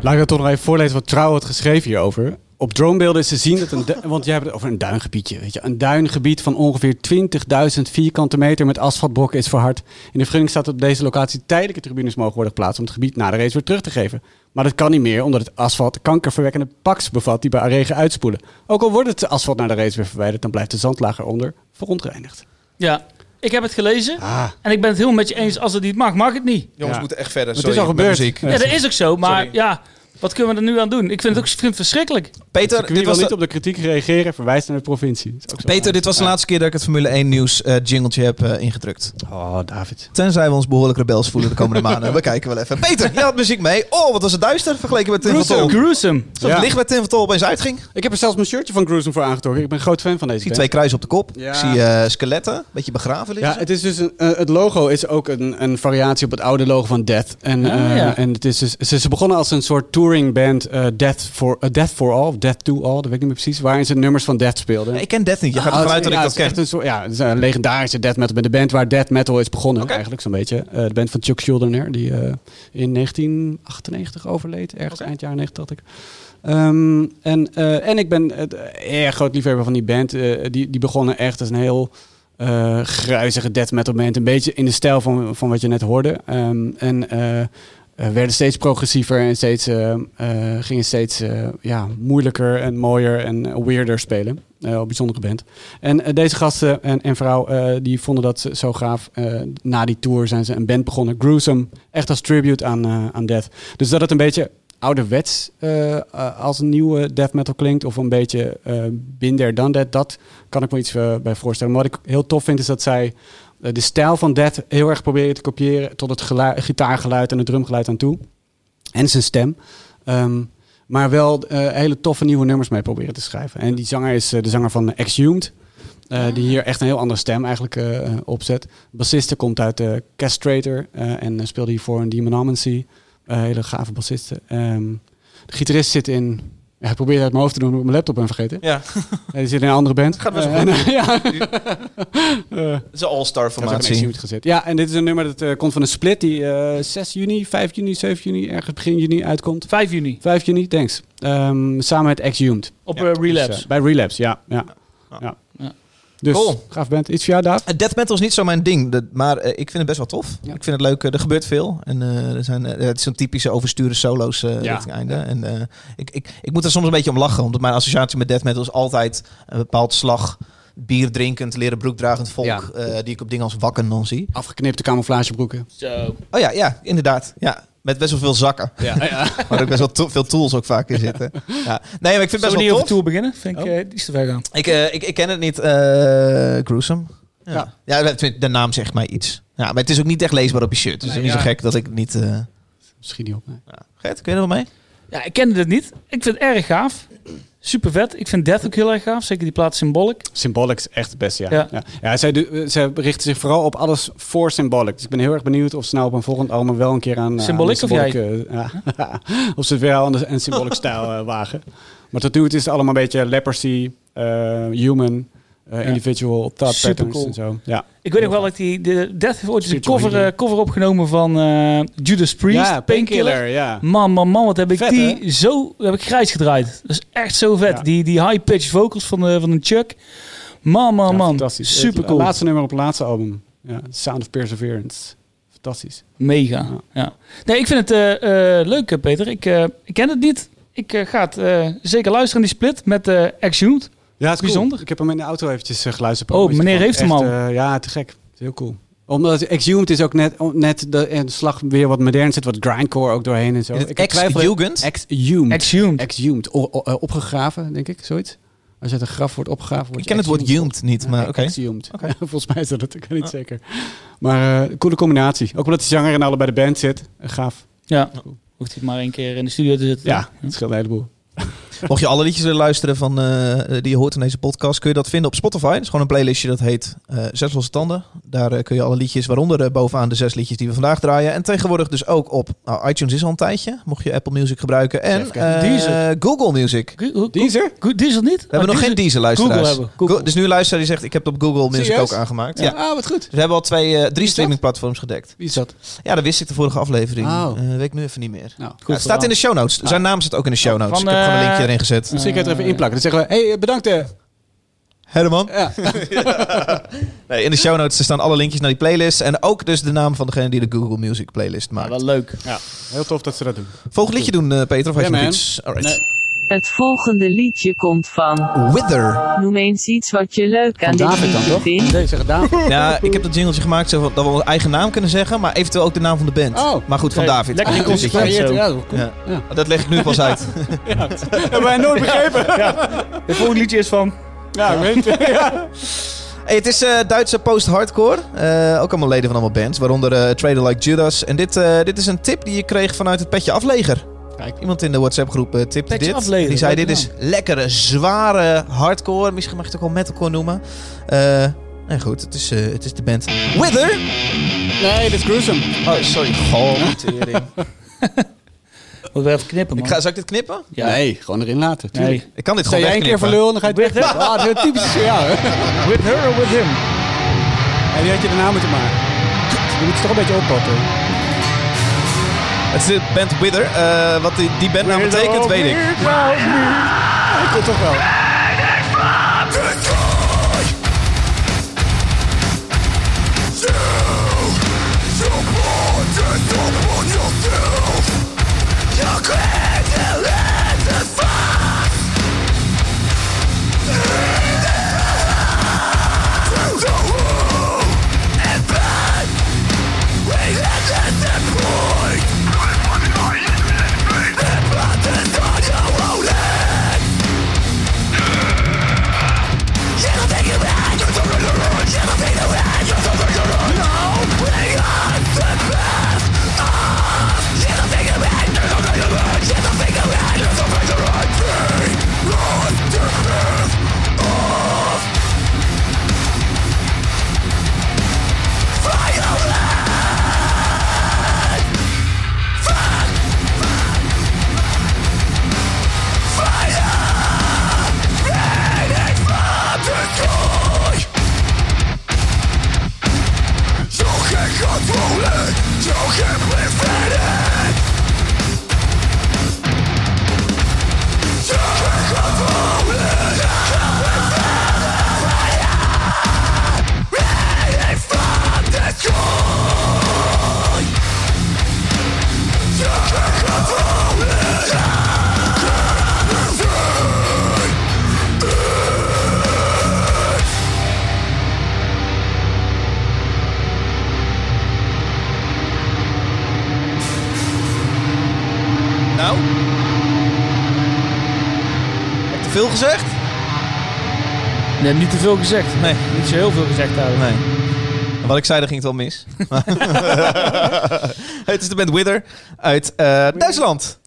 A: Laat ik dat toch nog even voorlezen wat Trouw had geschreven hierover. Op dronebeelden is te zien dat een... du- Want jij hebt het over een duingebiedje, weet je. Een duingebied van ongeveer 20.000 vierkante meter met asfaltbrokken is verhard. In de vergunning staat dat op deze locatie tijdelijke tribunes mogen worden geplaatst... om het gebied na de race weer terug te geven. Maar dat kan niet meer, omdat het asfalt kankerverwekkende paks bevat... die bij regen uitspoelen. Ook al wordt het asfalt na de race weer verwijderd... dan blijft de zandlaag eronder verontreinigd.
C: Ja. Ik heb het gelezen.
A: Ah,
C: En ik ben het heel met je eens. Als het niet mag, mag het niet.
E: Jongens
A: Ja.
E: moeten echt verder.
A: het
E: Sorry,
A: is al
E: ik ben
A: gebeurd.
E: ziek.
C: Ja, dat is ook zo. Maar
E: Sorry.
C: ja, wat kunnen we er nu aan doen? Ik vind het ook ik vind het verschrikkelijk.
E: Peter,
A: Kun je
E: dit
A: wel
E: was,
A: niet
E: de,
A: op de kritiek reageren, verwijst naar de provincie. Is ook zo
E: Peter, dit was de laatste keer dat ik het Formule 1 nieuws eh, jingletje heb eh, ingedrukt.
A: Oh, David.
E: Tenzij we ons behoorlijk rebels voelen de komende maanden. We kijken wel even. Peter, je had muziek mee. Oh, wat was het duister vergeleken met Tim van Tol.
C: Gruesome.
E: Alsof het
A: Ja.
E: licht bij Tim van Tol opeens uitging. Ik
A: Ik heb er zelfs mijn shirtje van Gruesome voor aangetrokken. Ik ben een groot fan van deze
E: zie
A: band.
E: twee kruisen op de kop.
A: Ja.
E: Ik zie eh, skeletten. Een beetje begraven liggen.
A: Ja, het, is dus een, eh, het logo is ook een, een variatie op het oude logo van Death. En,
C: Ah,
A: eh,
C: ja.
A: en het is dus, ze, ze begonnen als een soort touringband eh Death, for, eh, Death for All, of Death to All, dat weet ik niet meer precies, waarin ze nummers van Death speelden.
E: Nee, ik ken Death niet. Je gaat
A: Ah,
E: ervan uit dat ik
A: ja,
E: dat
A: het is
E: ken.
A: echt een soort, ja, het is een legendarische death metal met de band waar death metal is begonnen,
E: Oké.
A: eigenlijk zo'n beetje. Eh, de band van Chuck Schuldiner, die eh, in 1998 overleed, ergens eind jaren 90 dacht ik. Ehm, en, eh, en ik ben het erg groot liefhebber van die band. Eh, die, die begonnen echt als een heel eh, gruizige death metal band. Een beetje in de stijl van, van wat je net hoorde. Ehm, en eh, eh, werden steeds progressiever en steeds, eh, eh, gingen steeds eh, ja, moeilijker en mooier en eh, weirder spelen. Eh, een bijzondere band. En eh, deze gasten en, en vrouw eh, die vonden dat ze zo gaaf. Eh, na die tour zijn ze een band begonnen. Gruesome. Echt als tribute aan, eh, aan Death. Dus dat het een beetje ouderwets eh, eh, als een nieuwe death metal klinkt. Of een beetje eh binder dan that. Dat kan ik me iets eh, bij voorstellen. Maar wat ik heel tof vind is dat zij eh, de stijl van death heel erg proberen te kopiëren. Tot het gelu- gitaargeluid en het drumgeluid aan toe. En zijn stem. Ehm, maar wel eh, hele toffe nieuwe nummers mee proberen te schrijven. En die zanger is eh, de zanger van Exhumed. eh, die hier echt een heel andere stem eigenlijk eh, eh, opzet. Bassiste komt uit eh Castrator eh, en eh, speelde hiervoor in Demonomancy. Eh, hele gave bassiste. Ehm, de gitarist zit in... Ja, ik probeer het uit mijn hoofd te doen, omdat ik mijn laptop ben vergeten.
E: Ja.
A: Nee, die zit in een andere band.
E: Gaat best wel
A: Eh, en- ja. Eh,
E: Het is een all-star
A: dat is ook een
E: formatie.
A: execute gezet. Ja, en dit is een nummer dat eh, komt van een split die eh, 6 juni, 5 juni, 7 juni, ergens begin juni uitkomt.
C: 5 juni
A: 5 juni, thanks. Ehm, samen met Exhumed.
C: op
E: Ja,
C: eh,
A: Dus,
C: Relapse.
A: eh, bij Relapse, ja. ja.
E: Ja.
A: ja.
C: Ja.
A: Dus,
E: Cool.
A: gaaf bent. Iets voor jou, Daaf?
E: Eh, Death metal is niet zo mijn ding, dat- maar eh, ik vind het best wel tof.
A: Ja.
E: Ik vind het leuk, eh, er gebeurt veel. En eh, er zijn, eh, het is zo'n typische oversturen solo's eh
A: Ja.
E: richting einde. En eh, ik, ik, ik moet er soms een beetje om lachen, omdat mijn associatie met death metal is altijd een bepaald slag bier drinkend, leren broekdragend volk,
A: Ja.
E: eh, die ik op dingen als wakken dan zie.
A: Afgeknipte camouflagebroeken.
C: Zo.
E: Oh ja, ja, inderdaad. Ja. Met best wel veel zakken.
A: Ja.
E: Maar ook best wel to- veel tools ook vaak in zitten. Ja. Nee, maar ik vind het
C: Zullen
E: best
C: we niet
E: wel
C: over
E: tof.
C: tour beginnen? Vind ik,
E: Oh.
C: eh, die is te ver gaan.
E: Ik, eh, ik, ik ken het niet. eh gruesome. Ja. Ja.
A: Ja.
E: tenminste, de naam zegt mij iets. Ja, maar het is ook niet echt leesbaar op je shirt. Dus het is niet
C: ja.
E: zo gek dat ik het niet... eh
A: Misschien niet op. nee.
E: ja. Gert, kun je er wel mee?
C: Ja, ik kende het niet. Ik vind het erg gaaf. Super vet. Ik vind Death ook heel erg gaaf. Zeker die plaat Symbolic.
A: Symbolic is echt het beste, ja.
C: Ja.
A: ja. ja. zij, do- eh, zij richten zich vooral op alles voor Symbolic. Dus ik ben heel erg benieuwd of ze nou op een volgend album wel een keer aan... eh,
C: Symbolic
A: aan
C: of jij?
A: Symbolic, eh, ja. of ze het wel aan de en Symbolic stijl eh, wagen. Maar tot nu toe het is het allemaal een beetje Leprosy, eh, Human, eh, eh, individual thought
C: Supercool.
A: patterns en zo. Ja,
C: Ik weet nog wel dat die, de Death heeft ooit eens een
A: Super
C: cover,
A: Hero.
C: eh, cover opgenomen van eh, Judas Priest,
A: ja
C: Painkiller.
A: ja.
C: Man, man, man, wat heb ik
A: Vet,
C: die
A: hè?
C: zo heb ik grijs gedraaid. Dat is echt zo vet.
A: Ja.
C: Die, die high-pitched vocals van, de, van een Chuck. Man, man,
A: Ja,
C: man.
A: fantastisch.
C: Super
A: Het
C: cool.
A: laatste nummer op het laatste album. Ja, Sound of Perseverance. Fantastisch.
C: Mega. Ja. Nee, ik vind het eh, eh, leuk, eh, Peter. Ik, eh, ik ken het niet. Ik eh, ga het eh, zeker luisteren, die split met eh Exhumed.
A: Ja, het is
C: Bijzonder.
A: cool. Ik heb hem in de auto eventjes eh, geluisterd.
C: Oh, meneer
A: Het is
C: heeft hem
A: gewoon
C: al.
A: echt, eh, ja, te gek. Het is heel cool. Omdat Exhumed is ook net, oh, net de, en de slag weer wat modern zit, wat grindcore ook doorheen en zo.
E: Is het
A: heb twijfel-
E: Ex-Jugend?
A: Exhumed.
C: Exhumed.
A: Exhumed. O- o- eh, opgegraven, denk ik, zoiets. Als je uit een graf wordt opgegraven, wordt
E: Ik ken het woord
A: exhumed.
E: jugend niet, maar
A: Ja,
E: oké.
A: exhumed.
E: Oké. Ah.
A: Ja, Volgens mij is dat het, ik weet niet zeker. Maar eh, coole combinatie. Ook omdat de zanger in allebei de band zit. Eh, gaaf.
C: Ja. Hoeft hij maar één keer in de studio te zitten.
A: Ja, het scheelt een heleboel.
E: Mocht je alle liedjes willen luisteren van, eh, die je hoort in deze podcast, kun je dat vinden op Spotify. Dat is gewoon een playlistje dat heet eh Zes Losse Tanden. Daar eh, kun je alle liedjes, waaronder eh, bovenaan de zes liedjes die we vandaag draaien. En tegenwoordig dus ook op nou, iTunes is al een tijdje, mocht je Apple Music gebruiken. En
A: Even kijken.
E: eh,
C: Deezer.
E: Google Music. We
C: Gu- hoe-
A: Deezer?
C: Gu- Diesel niet? Oh,
E: hebben nog geen
C: Google
E: Deezer luisteraars.
C: hebben we, Google.
E: Go- dus nu een luisteraar die zegt, ik heb het op Google Music
A: Serieus?
E: ook aangemaakt. Ja.
A: Ja. Ah, wat goed.
E: Dus we hebben al twee, eh, drie
A: dat?
E: streamingplatforms gedekt.
A: Wie is dat?
E: Ja, dat wist ik de vorige aflevering. Eh
A: Oh.
E: dat weet ik nu even niet meer.
A: Nou,
E: Ja, het staat in de show notes. Zijn naam zit ook in de show notes.
C: Van,
E: ik heb gewoon een
C: eh,
E: linkje erin gezet.
A: Misschien kan je het er even inplakken. Dan zeggen we, hey, bedankt. eh.
E: Herman.
A: Ja.
E: Nee, in de show notes staan alle linkjes naar die playlist. En ook dus de naam van degene die de Google Music playlist
C: Ja,
E: maakt.
C: wel leuk.
A: Heel tof dat ze dat doen.
E: Volgend liedje doen, eh, Peter, of had
A: Ja,
E: je nog
A: man.
E: iets? Alright.
A: Nee.
F: Het volgende liedje komt van.
E: Wither.
F: Noem eens iets wat je leuk
A: Van
F: aan dit
A: David dan,
F: liedje
A: toch?
F: vindt.
A: Deze gedaan.
E: Ja, ik heb dat jingletje gemaakt zodat we onze eigen naam kunnen zeggen, maar eventueel ook de naam van de band.
A: Oh.
E: Maar goed, van
C: Nee,
E: David.
C: lekker
E: Ah,
C: inconsequent.
E: dus ik-
C: Gevarieerd,
A: Ja,
E: Ja. Dat leg ik nu pas uit.
A: Hebben wij nooit begrepen? Ja,
C: Het volgende liedje is van...
A: ik weet het.
E: Hey, het is eh, Duitse post-hardcore. Eh, ook allemaal leden van allemaal bands, waaronder eh, Trader Like Judas. En dit, eh, dit is een tip die je kreeg vanuit het Petje Afleger.
A: Kijk.
E: Iemand in de WhatsApp-groep eh, tipte
C: Petje
E: dit.
C: Afleger,
E: die zei,
C: leuke
E: dit is lekkere, zware hardcore. Misschien mag je het ook wel metalcore noemen. Eh en goed, het is, eh, het is de band Wither.
A: Nee, dit is gruesome.
E: Oh, sorry. Goh, tering.
C: Moet wel even knippen, man.
E: ik ga, zou ik dit knippen?
C: Ja.
A: Nee, gewoon erin laten.
C: Nee.
A: Tuurlijk.
E: Ik kan dit
A: Sta
E: gewoon
A: jij een keer voor
E: wegknippen.
A: lul, dan ga je het
C: With
A: weg. Ah, dat is typisch voor jou, hè?
C: With her or with him?
A: En die had je daarna moeten maken. Je moet ze toch een beetje oppakken.
E: Het is de band Wither. Eh, wat die, die band nou betekent, weet ik.
A: Dat komt toch wel.
E: Nou? Heb ik te veel gezegd?
C: Nee, heb niet te veel gezegd.
E: Nee.
C: Niet zo heel veel gezegd, daar.
E: Nee. En Wat ik zei, daar ging het wel mis. het is de band Wither uit eh, Duitsland.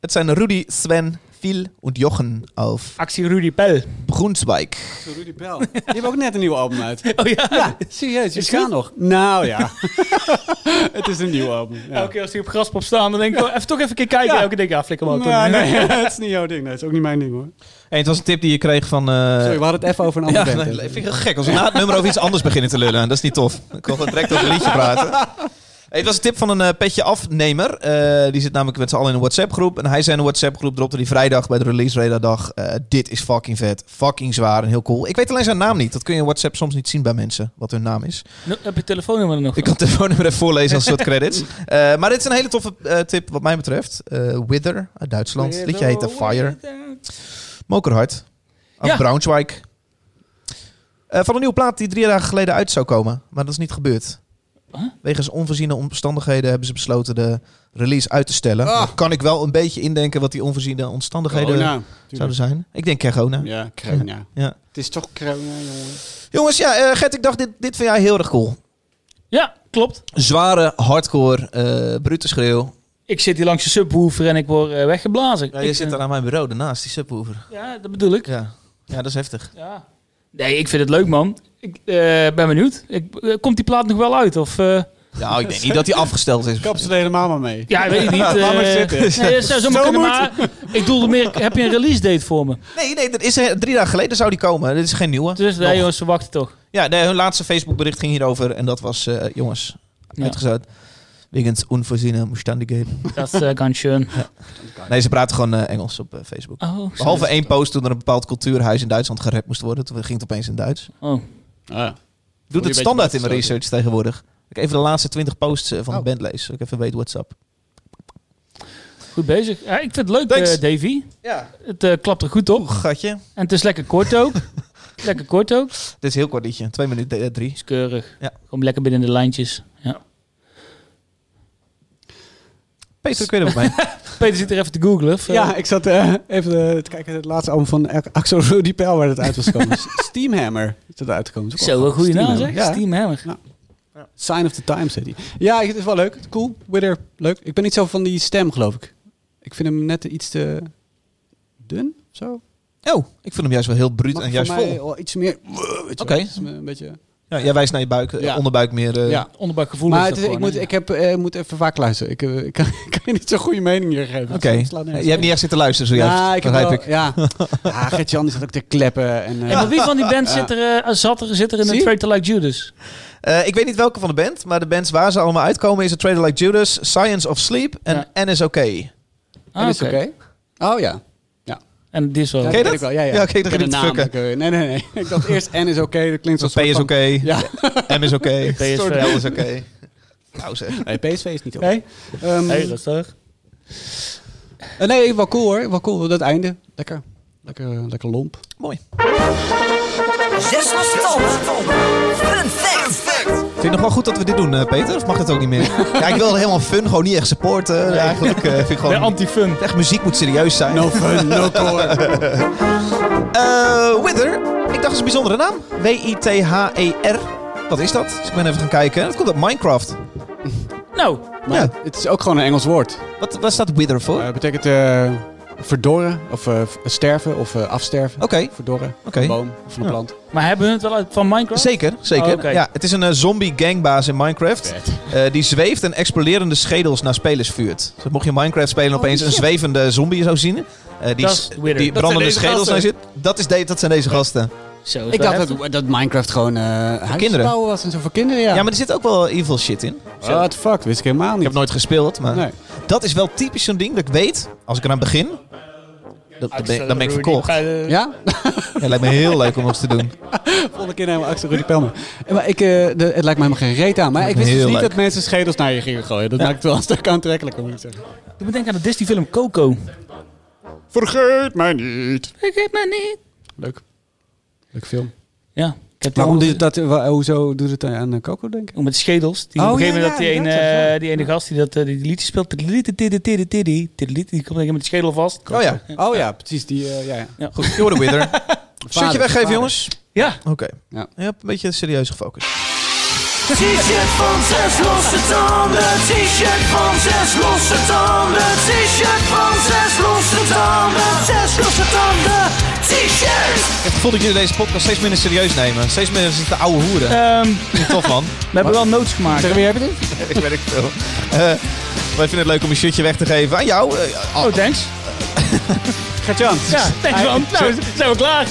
E: Het zijn Rudy, Sven, Phil en Jochen auf
C: Actie Rudy Pel.
E: Brunswijk.
A: Rudy Bell. Die hebben ook net een nieuw album uit.
C: Oh ja?
A: Ja, serieus. Je
C: Is
A: staan
C: goed?
A: nog. Nou ja. het is een nieuw album. Ja.
C: Elke keer als die op graspop staan, dan denk ik, oh, even toch even een keer kijken.
A: Ja.
C: Elke keer denk ik, ah, flikker maar. op.
A: Maar nee, het is niet jouw ding. Nee, het is ook niet mijn ding hoor.
E: Hey, het was een tip die je kreeg van... eh,
A: Sorry, we hadden het even over een
E: ja,
A: andere
E: nee,
A: band.
E: vind ik heel gek. Als we na het nummer over iets anders beginnen te lullen. Dat is niet tof. Ik wil gewoon direct over een liedje praten. Hey, het was een tip van een eh, petje afnemer. Eh, die zit namelijk met z'n allen in een WhatsApp-groep. En hij zei in een WhatsApp-groep, dropte die vrijdag bij de release radar dit is fucking vet, fucking zwaar en heel cool. Ik weet alleen zijn naam niet. Dat kun je in WhatsApp soms niet zien bij mensen, wat hun naam is.
C: Nu- heb je telefoonnummer er nog?
E: Ik kan het telefoonnummer even voorlezen als een soort credits. Eh, maar dit is een hele toffe eh, tip wat mij betreft. Eh, Wither uit Duitsland. Het liedje
A: oh,
E: heette Fire. Mokerhard. Uit
C: Ja.
E: Braunschweig. Eh, van een nieuwe plaat die drie dagen geleden uit zou komen. Maar dat is niet gebeurd.
C: Huh?
E: Wegens onvoorziene omstandigheden hebben ze besloten de release uit te stellen.
A: Ah.
E: Dan kan ik wel een beetje indenken wat die onvoorziene omstandigheden
A: Corona.
E: zouden zijn. Ik denk corona.
A: Ja, corona.
E: Ja.
A: Het is toch corona, jongen.
E: Jongens, ja, eh, Gert, ik dacht, dit, dit vind jij heel erg cool.
C: Ja, klopt.
E: Zware, hardcore, eh brute schreeuw.
C: Ik zit hier langs de subwoofer en ik word eh, weggeblazen.
E: Ja, je
C: Ik,
E: zit
C: eh,
E: daar aan mijn bureau, daarnaast, die subwoofer.
C: Ja, dat bedoel ik.
E: Ja. ja, dat is heftig.
C: Ja. Nee, ik vind het leuk, man. Ik eh, ben benieuwd. Ik, eh, komt die plaat nog wel uit? Of, eh,
E: Nou, ik denk niet dat die afgesteld is.
A: Kap ze er helemaal maar mee.
C: ja, weet ik niet. eh,
A: Laat maar zitten.
C: nee, dat zou zomaar kunnen, maar ik doelde meer, heb je een release date voor me?
E: Nee, nee, dat is, eh, drie dagen geleden zou die komen. Dit is geen nieuwe.
C: Dus
E: Nog.
C: nee, jongens, ze wachten toch.
E: Ja, nee, hun laatste Facebookbericht ging hierover. En dat was, eh, jongens,
C: Ja.
E: uitgezet. Wegens onvoorziene omstandigheden.
C: Dat is eh, ganz schön.
E: Nee, ze praten gewoon eh, Engels op eh, Facebook.
C: Oh,
E: Behalve één post toen er een bepaald cultuurhuis in Duitsland gered moest worden. Toen ging het opeens in Duits.
C: Oh.
A: Ah.
E: Doe
A: je
E: het
A: een
E: standaard in
A: beetje
E: mijn research tegenwoordig. Dat Ik even de laatste twintig posts eh, van
A: Oh.
E: de band lees. zodat ik even weet what's up.
C: Goed bezig. Ja, ik vind het leuk,
E: Thanks.
C: eh, Davy.
E: Ja.
C: Het eh, klapt er goed op.
E: Gatje.
C: En het is lekker kort ook. lekker kort ook. Het
E: Dit is een heel kort liedje. Twee minuten eh, drie.
C: is keurig.
E: Ja.
C: Gewoon lekker binnen de lijntjes. Ja.
E: Peter, ik weet het mij.
C: Peter zit er even te googlen. of, eh,
A: Ja, ik zat eh, even eh, te kijken naar het laatste album van Axel Rudy Pel waar het uit was gekomen. S- Steamhammer is dat uitgekomen. Dat is ook
C: Zo,
A: wel
C: een goede naam zeg.
A: Steamhammer, ja.
C: Steam Hammer.
A: Sign of the Times heet die. Ja, het is wel leuk. Cool. Wither, leuk. Ik ben niet zo van die stem, geloof ik. Ik vind hem net iets te dun, zo.
E: Oh, ik vind hem juist wel heel bruut
A: Mag
E: en
A: voor
E: juist
A: mij
E: vol.
A: wel iets meer... weet je wel.
E: Oké.
A: Het is Een beetje...
E: Ja, jij wijst naar je buik, eh,
A: Ja.
E: onderbuik meer. eh,
A: Ja.
C: Onderbuikgevoel
A: Maar
C: is
A: het
C: dat
A: is- ik,
C: gewoon,
A: moet,
C: hè?
A: ik heb, eh, moet even vaak luisteren. Ik, eh, ik kan, ik kan je niet zo'n goede mening hier geven.
E: Oké.
A: Het slaat nergens
E: Je hebt niet echt zitten luisteren zojuist.
A: Ja, ik heb
E: begrijp
A: wel-
E: ik.
A: Ja, ja Gert-Jan is ook te kleppen. En, eh,
C: Hey, maar wie van die band zit er, eh, zat er, zit er in
A: Zie
C: een
A: je?
C: Traitor Like Judas?
E: Eh, ik weet niet welke van de band, maar de bands waar ze allemaal uitkomen is A Trader Like Judas, Science of Sleep en
C: Ja.
E: NSOK.
A: en is
C: Ah, oké.
A: oké. Oh ja.
C: En die is wel...
A: Ja,
E: Ken je
A: weet
E: dat?
A: ik wel. Ja, ja.
E: Ja, oké, dan
A: Ik
E: ga
A: ken
E: je
A: de
E: niet
A: naam,
E: fucken.
A: ik, eh, Nee, nee, nee. Ik dacht eerst N is oké. dat klinkt
E: Dus
A: als
E: P is oké,
A: Ja.
E: M is oké,
C: PSV.
E: soort L is oké. Nou zeg.
A: Nee, PSV is niet oké.
C: Nee?
A: Ehm,
C: Hey, rustig.
A: eh, nee, wel cool hoor. Wel cool. Dat einde. Lekker. Lekker, eh, lekker lomp.
E: Mooi.
D: Zes stom. Fun fact.
E: Vind je het nog wel goed dat we dit doen, eh, Peter? Of mag het ook niet meer? ja, ik wilde helemaal fun, gewoon niet echt supporten. Eigenlijk eh, vind ik
C: Ben
E: gewoon...
C: anti-fun.
E: Echt, muziek moet serieus zijn.
A: No fun, no core.
E: Eh, Wither. Ik dacht, dat is een bijzondere naam. W-I-T-H-E-R. E Wat is dat? Dus ik ben even gaan kijken. Dat komt uit Minecraft.
C: Nou,
A: Maar
E: Ja. Oh.
A: het is ook gewoon een Engels woord.
E: Wat, wat staat Wither voor?
A: Eh, betekent eh, verdorren of eh, v- sterven of eh, afsterven.
E: Oké, oké.
A: Verdorren van een boom of van een
E: Ja.
A: plant.
C: maar hebben we het wel uit van Minecraft?
E: Zeker, zeker.
C: Oh, oké.
E: ja, het is een eh, zombie gangbaas in Minecraft. eh, die zweeft en exploderende schedels naar spelers vuurt. Dus mocht je Minecraft spelen
A: Oh,
E: en opeens een zwevende zombie zou zien. eh, die
C: Dat
E: s-
C: is weirder.
E: die
C: Dat
E: brandende
A: deze
E: schedels
A: gasten.
E: naar zit. Dat, is de, dat zijn deze gasten.
C: Zo,
A: Ik dacht dat, dat Minecraft gewoon eh huisjes
E: kinderen.
A: bouwen was en zo voor kinderen. Ja,
E: Ja, maar er zit ook wel evil shit in.
A: What the fuck, wist ik helemaal
E: Ik
A: niet.
E: heb nooit gespeeld, maar
A: Nee.
E: dat is wel typisch zo'n ding dat ik weet. Als ik eraan begin, dat, dan, ben, dan ben ik verkocht.
C: Ja.
A: Eh, Ja?
E: Ja, lijkt me heel leuk om ons te doen.
A: Volgende keer helemaal achter Rudy Pelmer. En Maar ik, eh, de, het lijkt mij helemaal geen reet aan. Maar ik
E: me
A: wist dus
E: heel
A: niet
E: leuk.
A: dat mensen schedels naar je gingen gooien. Dat maakt het wel een stuk aantrekkelijker, moet ik zeggen.
C: Ik denk aan de Disney-film Coco.
A: Vergeet mij niet.
C: Vergeet mij niet.
A: Leuk. Leuk film.
C: Ja. Ik heb
A: Waarom
C: die-
A: doet dat, wa- hoezo doet het aan eh, Coco denken?
C: Om Met scheels. Die
A: Oh,
C: op een
A: ja,
C: gegeven
A: ja,
C: moment dat die,
A: inderdaad,
C: ene,
A: ja.
C: eh, die ene gast die dat eh, die liedje speelt. tiddeliet, tiddeliet, tiddeliet, tiddeliet, Die komt met de schedel vast.
E: Oh ja,
A: Oh ja, precies. Die, eh, ja, ja.
E: goed. Je wordt een winner. Shirtje weggeven, jongens.
C: Ja.
E: Oké.
A: Ja.
E: Je hebt een beetje serieus gefocust.
D: T-shirt van zes losse tanden. T-shirt van zes losse tanden. T-shirt van zes losse tanden.
E: gevoel dat jullie deze podcast steeds minder serieus nemen. Steeds minder zitten oude hoeren.
C: Ehm,
E: Dat is tof, man.
C: we hebben wel notes gemaakt.
A: Tegen wie heb je dit?
E: ik weet het veel. Eh, wij vinden het leuk om een shirtje weg te geven aan jou. Eh,
C: Oh, thanks.
A: Gert-Jan.
C: Ja, thanks man. Nou, zijn we klaar.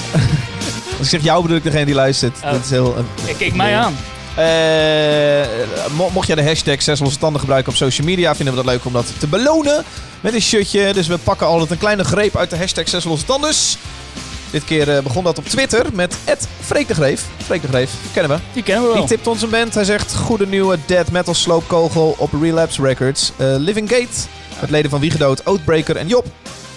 E: Als ik zeg jou bedoel ik degene die luistert.
C: Oh.
E: Dat is heel... eh,
C: Ik keek mij aan.
E: Eh, mo- mocht jij de hashtag 6 losse tanden gebruiken op social media, vinden we dat leuk om dat te belonen met een shirtje. Dus we pakken altijd een kleine greep uit de hashtag 6 losse tanden. Dit keer eh, begon dat op Twitter met Freek de Greef. Freek de Greef, kennen we.
C: Die kennen we
E: Die
C: wel.
E: tipt ons een band. Hij zegt goede nieuwe dead metal sloopkogel op Relapse Records. Eh, Living Gate, het leden van Wiegedood, Oatbreaker en Job.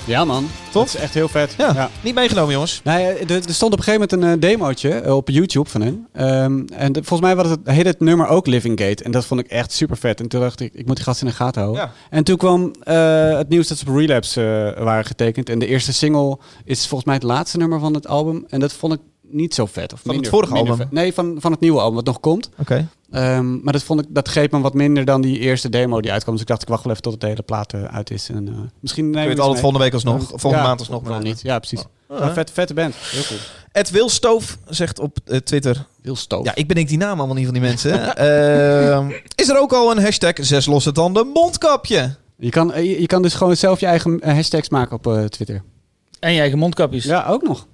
A: Ja, man. Dat is echt heel vet.
E: Ja, niet meegenomen jongens.
A: Nee, eh, er, er stond op een gegeven moment een eh, demootje eh, op YouTube van hen. Ehm, en de- volgens mij was het, heette het nummer ook Living Gate. En dat vond ik echt super vet. En toen dacht ik, ik moet die gast in de gaten houden.
E: Ja.
A: En toen kwam eh, het nieuws dat ze op Relapse eh, waren getekend. En de eerste single is volgens mij het laatste nummer van het album. En dat vond ik niet zo vet. Of
E: het
A: minder-
E: vorige
A: minder
E: album?
A: vet. Nee, van, van het nieuwe album wat nog komt.
E: Oké.
A: Ehm, maar dat, vond ik, dat greep me wat minder dan die eerste demo die uitkwam. Dus ik dacht, ik wacht wel even tot het hele plaat eh, uit is. En, eh, misschien nemen
E: Kun je
A: we iets
E: het altijd
A: mee.
E: volgende week alsnog, volgende
A: Ja,
E: maand alsnog.
A: of wel
E: maken.
A: niet. Ja, precies.
E: Oh,
A: Maar
E: hè?
A: vet, vette band. Heel cool.
E: Ed Wilstoof zegt op eh, Twitter,
A: Heel stoof.
E: Ja, ik bedenk die naam allemaal niet van die mensen. hè. Ehm, is er ook al een hashtag zes losse tanden mondkapje?
A: Je kan, eh, je, je kan dus gewoon zelf je eigen eh, hashtags maken op eh, Twitter.
C: En je eigen mondkapjes.
A: Ja, ook nog.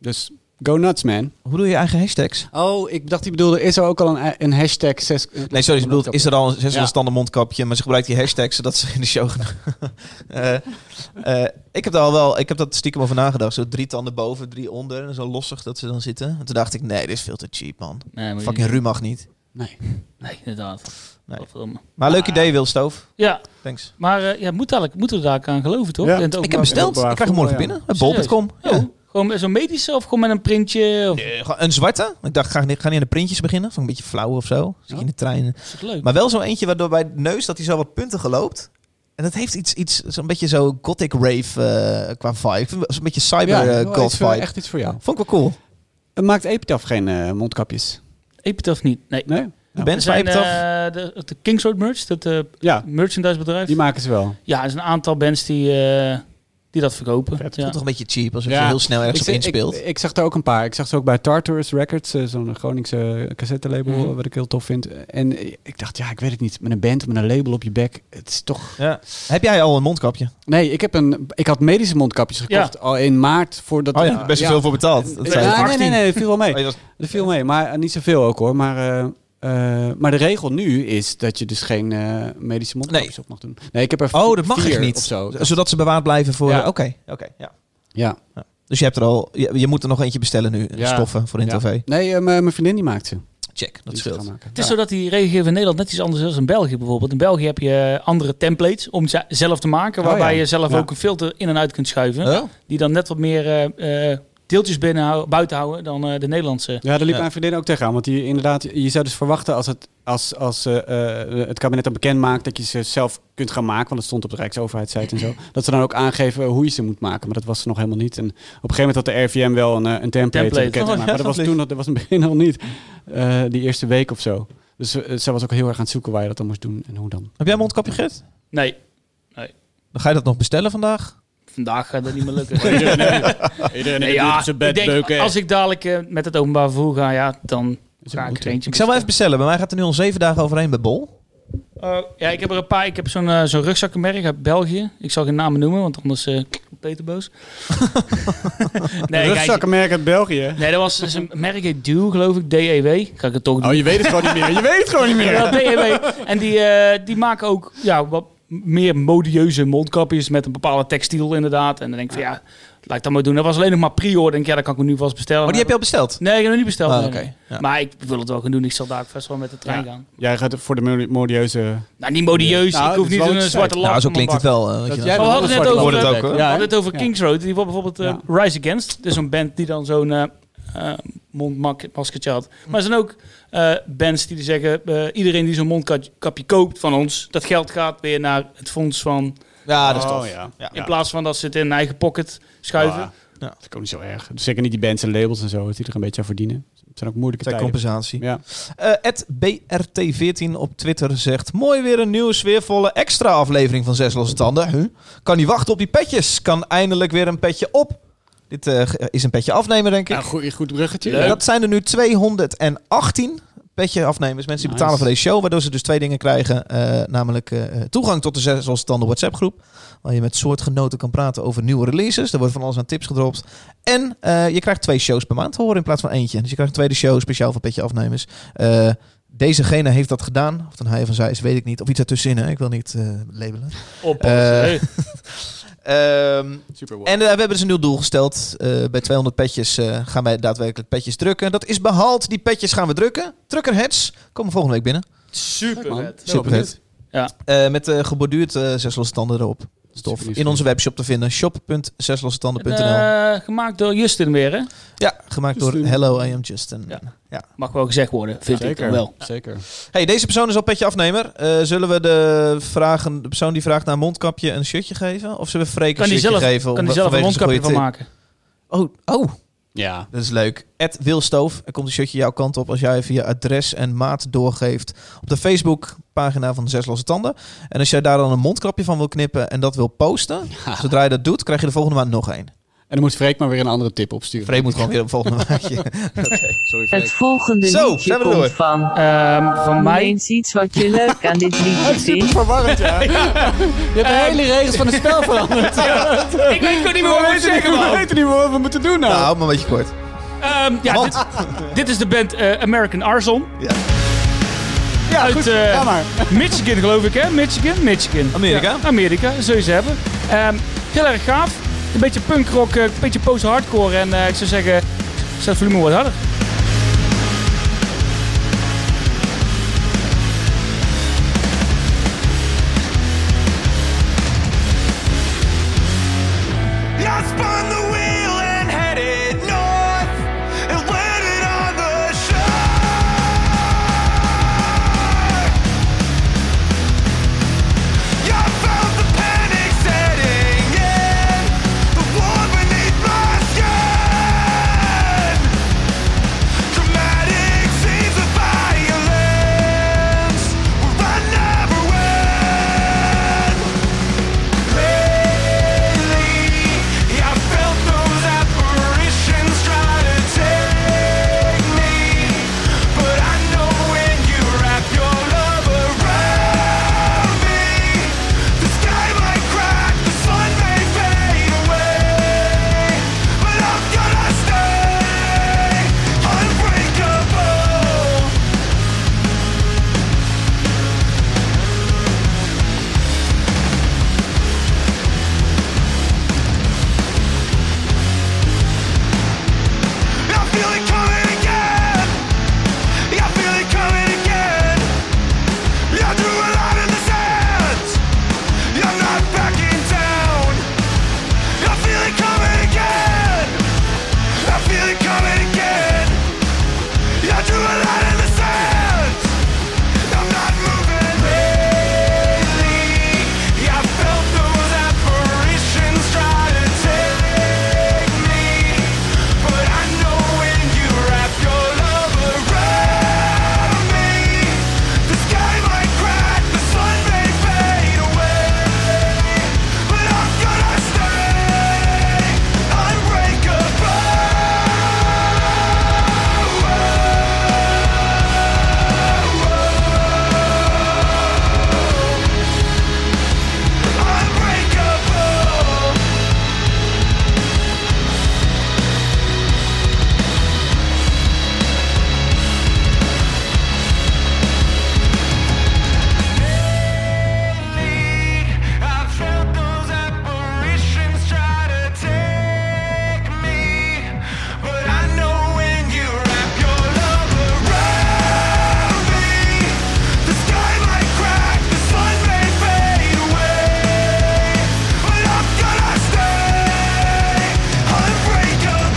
A: Dus go nuts, man.
E: Hoe doe je eigen hashtags?
A: Oh, ik dacht, die bedoelde, is er ook al een, eh, een hashtag? Zes, eh,
E: Nee, sorry, ik bedoel, is er al een zes
A: Ja.
E: losse tanden mondkapje? Maar ze gebruikt die hashtag zodat ze in de show gaan. Eh, eh, ik heb daar al wel, ik heb dat stiekem over nagedacht. Zo drie tanden boven, drie onder en zo lossig dat ze dan zitten. En toen dacht ik, nee, dit is veel te cheap, man.
C: Nee, maar
E: Fucking
C: die-
E: ru mag niet.
A: Nee.
C: Nee, inderdaad.
E: Nee.
C: Godverdomme.
E: Maar leuk idee, Wilstoof.
C: Ja,
E: Thanks.
C: maar eh, ja, moet eigenlijk, moeten we daar ook aan geloven, toch?
A: Ja.
C: In het
E: Ik
C: openbaar-
E: heb besteld. Ik
A: openbaar
E: krijg hem morgen
A: voetbal,
E: binnen. Bij bol.com.
C: Oh,
E: Ja.
C: Gewoon met zo'n medische of gewoon met een printje? Of,
E: Eh, gewoon Een zwarte. Ik dacht, ga niet, ga niet aan de printjes beginnen. Vond ik een beetje flauw of zo. Zit je in de trein.
C: Is dat leuk?
E: Maar wel zo eentje waardoor bij de neus dat hij zo wat puntigen loopt. En dat heeft iets, iets zo'n beetje zo gothic rave eh, qua vibe. Ik vind het Zo'n beetje cyber eh,
A: wel
E: god
A: iets voor-
E: vibe.
A: echt iets voor jou.
E: Vond ik wel cool.
A: Eh, Maakt Epitaph geen eh, mondkapjes?
C: Epitaph niet. Nee.
A: Nee?
E: De
A: Nou,
E: band
C: Er
E: van
C: zijn,
E: Epitaph.
C: eh, de, de Kings Road Merch, dat eh
A: Ja,
C: merchandisebedrijf.
A: die maken ze wel.
C: Ja, er zijn een aantal bands die, eh, die dat verkopen.
A: Vet.
E: Voelt
C: Ja.
E: toch een beetje cheap alsof
A: Ja.
E: je heel snel ergens
A: ik,
E: op
A: zie-
E: inspeelt.
A: Ik, ik zag er ook een paar. Ik zag ze ook bij Tartarus Records, eh, zo'n Groningse cassettelabel,
C: Mhm.
A: eh, wat ik heel tof vind. En eh, ik dacht, ja, ik weet het niet. Met een band, met een label op je bek, het is toch
E: Ja. Heb jij al een mondkapje?
A: Nee, ik, heb een, ik had medische mondkapjes gekocht al in maart. Voordat,
E: Oh ja, best wel
A: ja.
E: veel voor betaald. Dat
A: Ja,
E: zei je.
A: nee, nee, nee, dat viel wel mee.
E: Oh, je was-
A: Dat viel mee, maar eh, niet zoveel ook hoor. Maar, eh, eh, maar de regel nu is dat je dus geen eh, medische mondkapjes
E: Nee.
A: op mag doen. Nee, ik heb er
E: Oh, dat mag
A: vier
E: echt niet.
A: Of zo.
E: Zodat ze bewaard blijven voor...
A: Ja.
E: Oké, oké, ja.
A: Ja.
E: Dus je hebt er al... Je, je moet er nog eentje bestellen nu.
A: Ja.
E: Stoffen voor in
A: Ja.
E: tv.
A: Nee, eh, m- mijn vriendin die maakt ze.
E: Check, dat
A: Die ze
E: scheelt.
A: gaan maken.
C: Het is zo dat die regelgeving in Nederland net iets anders is dan in België bijvoorbeeld. In België heb je andere templates om ze- zelf te maken,
A: Oh
C: waarbij
A: ja.
C: je zelf
A: Ja.
C: ook een filter in en uit kunt schuiven.
E: Oh?
C: Die dan net wat meer eh, eh, deeltjes binnen hou- buiten houden dan eh, de Nederlandse.
A: Ja, daar liep
E: Ja.
A: mijn vriendin ook tegenaan. Want die, inderdaad, je zou dus verwachten als het, als, als, eh, eh, het kabinet dat bekend maakt dat je ze zelf kunt gaan maken. Want dat stond op de Rijksoverheidssite en zo. Dat ze dan ook aangeven hoe je ze moet maken. Maar dat was ze nog helemaal niet. En op een gegeven moment had de RVM wel een, eh, een template.
C: Template.
A: bekend
E: Oh,
A: gemaakt.
E: ja,
A: maar dat was
E: dat
A: toen, dat was in het begin al niet. Eh, die eerste week of zo. Dus eh, zij was ook heel erg aan het zoeken waar je dat dan moest doen en hoe dan.
E: Heb jij een mondkapje, Gert?
C: Nee,
E: Dan ga je dat nog bestellen vandaag?
C: vandaag gaat dat niet meer lukken. Iedereen, ja, ik denk, Als ik dadelijk eh, met het openbaar vervoer ga, ja, dan ga ik er eentje
E: Ik zal wel even bestellen. Bij mij gaat er nu al zeven dagen overheen bij Bol.
C: Oh, ja, ik heb er een paar. Ik heb zo'n eh, zo'n rugzakkenmerk uit België. Ik zal geen namen noemen, want anders eh Peter boos. nee, kijk,
A: Rugzakkenmerk uit België.
C: nee, dat was dus een merk heet Duw, geloof ik. DEW. Ga ik het toch doen.
A: Oh, je weet het gewoon niet meer. Je weet het gewoon niet
E: Oh,
A: meer.
C: Ja, DEW. En die, eh, die maken ook ja, wat meer modieuze mondkapjes met een bepaalde textiel inderdaad. En dan denk ik van ja, laat ik dat maar doen. Dat was alleen nog maar pre-order. Denk ik, ja, dat kan ik nu vast bestellen.
E: Oh, die heb je al besteld?
C: Nee, ik heb nog niet besteld.
E: Ah,
C: nee,
E: oké.
C: nee.
E: Ja.
C: Maar ik wil het wel gaan doen. Ik zal daar vast wel met de trein
A: Ja.
C: gaan.
A: Jij gaat voor de modi- modieuze...
C: Nou, niet modieus.
A: Nou,
C: ik
A: dat
C: hoef
A: is
C: niet
A: wel
C: een
A: iets
C: zwarte
A: feit.
C: lap.
E: Nou, zo
C: op mijn
E: klinkt
C: bak.
E: het wel. eh, weet je
A: jij
E: wel.
C: we hadden het net over-
E: Wordt het ook, hoor.
C: We hadden het over
A: Ja.
C: Kings Road. Die wordt bijvoorbeeld eh, Rise Against. Dus een band die dan zo'n eh eh, mondmaskertje had. Maar er zijn ook eh, bands die zeggen... eh, iedereen die zo'n mondkapje koopt van ons... dat geld gaat weer naar het fonds van...
E: Ja, dat is
A: Oh,
E: tof.
A: ja.
E: Ja.
C: in plaats van dat ze het in hun eigen pocket schuiven.
A: Ja.
E: Ja.
A: Dat is ook niet zo erg. Zeker niet die bands en labels en zo, dat die er een beetje aan verdienen. Het zijn ook moeilijke
E: Ter
A: tijden.
E: compensatie. Eh,
A: Ja.
E: Het BRT14 op Twitter zegt... Mooi weer een nieuwe sfeervolle extra aflevering van Zes Losse Tanden. Huh? Kan niet wachten op die petjes. Kan eindelijk weer een petje op. Dit eh, ge- is een petje afnemen, denk ik.
A: Ja, goed, Nou, goed bruggetje.
E: Ja, Dat zijn er nu 218 petje afnemers. Mensen die
A: Nice.
E: betalen voor deze show. Waardoor ze dus twee dingen krijgen. eh, namelijk eh, toegang tot de zes zoals het dan de WhatsApp groep. Waar je met soortgenoten kan praten over nieuwe releases. Daar wordt van alles aan tips gedropt. En eh, je krijgt twee shows per maand te horen in plaats van eentje. Dus je krijgt een tweede show speciaal voor petje afnemers. Eh, Dezegene heeft dat gedaan. Of dan hij van zij is, weet ik niet. Of iets ertussenin. Hè? Ik wil niet eh, labelen.
C: Op.
E: Eh, Ehm,
A: Super
E: en eh, we hebben dus een nieuw doel gesteld. Eh, bij 200 petjes eh, gaan wij daadwerkelijk petjes drukken. Dat is behaald. Die petjes gaan we drukken. Truckerheads komen volgende week binnen.
C: super
A: man.
C: vet.
E: Super vet.
C: Ja.
E: Eh, met eh, geborduurd eh zes losse tanden erop. Stof.
A: Super lief.
E: In onze webshop te vinden. shop.zeslossetanden.nl
C: En, eh, gemaakt door Justin weer, hè?
E: Ja, gemaakt door
A: Justin.
E: Hello, I am Justin.
C: Ja. Mag wel gezegd worden, vind ik dan
A: Zeker.
C: wel.
A: Zeker.
E: Hey, deze persoon is al petje afnemer. Eh, zullen we de, vragen, de persoon die vraagt naar een mondkapje een shirtje geven? Of zullen we Freek een
C: Kan hij
E: shirtje
C: zelf,
E: geven?
C: kan
E: om-
C: die zelf een
E: vanwege zijn
C: mondkapje van
E: goede
C: maken.
E: tip? Oh, oh.
A: Ja.
E: Dat is leuk. Ed Wilstoof. Er komt een shirtje jouw kant op als jij even je adres en maat doorgeeft op de Facebookpagina van Zes Losse Tanden. En als jij daar dan een mondkapje van wil knippen en dat wil posten, zodra je dat doet, krijg je de volgende maand nog één.
A: En dan moet Freek maar weer een andere tip opsturen.
E: Vreemd moet gewoon weer op de volgende maandje.
A: Sorry,
F: Het volgende
E: Zo,
F: liedje
E: zijn we
F: komt
E: door.
F: van.
C: Ehm, van
F: Noem
C: mij.
F: eens iets wat je leuk aan dit liedje vindt.
A: Verwarrend, ja. Je hebt de hele regels van het spel veranderd.
C: Ik weet ook niet meer
A: Eh, We
C: wat ik moet
A: weten niet-
C: zeggen,
A: we
C: man.
A: weten niet meer wat we moeten doen nou.
E: Nou, maar een beetje kort.
C: Ehm, ja, dit, dit is de band eh, American Arson.
E: Ja.
A: ja,
C: uit,
A: goed.
C: eh,
A: ja, maar.
C: Michigan geloof ik, hè? Michigan, Michigan.
E: Amerika.
C: Ja, Amerika, zo is hebben. Ehm, heel erg gaaf. Een beetje punkrock, eh, een beetje post-hardcore. En eh, ik zou zeggen, zet het volume wat harder.
D: I spun the wheel and headed north and landed on the shore. I felt the panic setting in, the war beneath my skin. Dramatic scenes of violence will I never win. I felt those apparitions try to take me, but I know when you wrap your love around me, the sky might crack, the sun may fade away, but I'm gonna stay unbreakable. I feel it coming again. I feel it coming again. I drew a line in the sand. I'm not backing down. I feel it coming again. I feel it coming again. I drew a line in the sand. I'm not moving lately. I felt those apparitions try to take me. But I know when you wrap your love around me, the sky might crack, the sun may fade away, but I'm gonna stay unbreakable, unbreakable. I felt those apparitions try to take me, but I know when you wrap your love around me, the sky might crack, the sun may fade away, but I'm gonna stay unbreakable.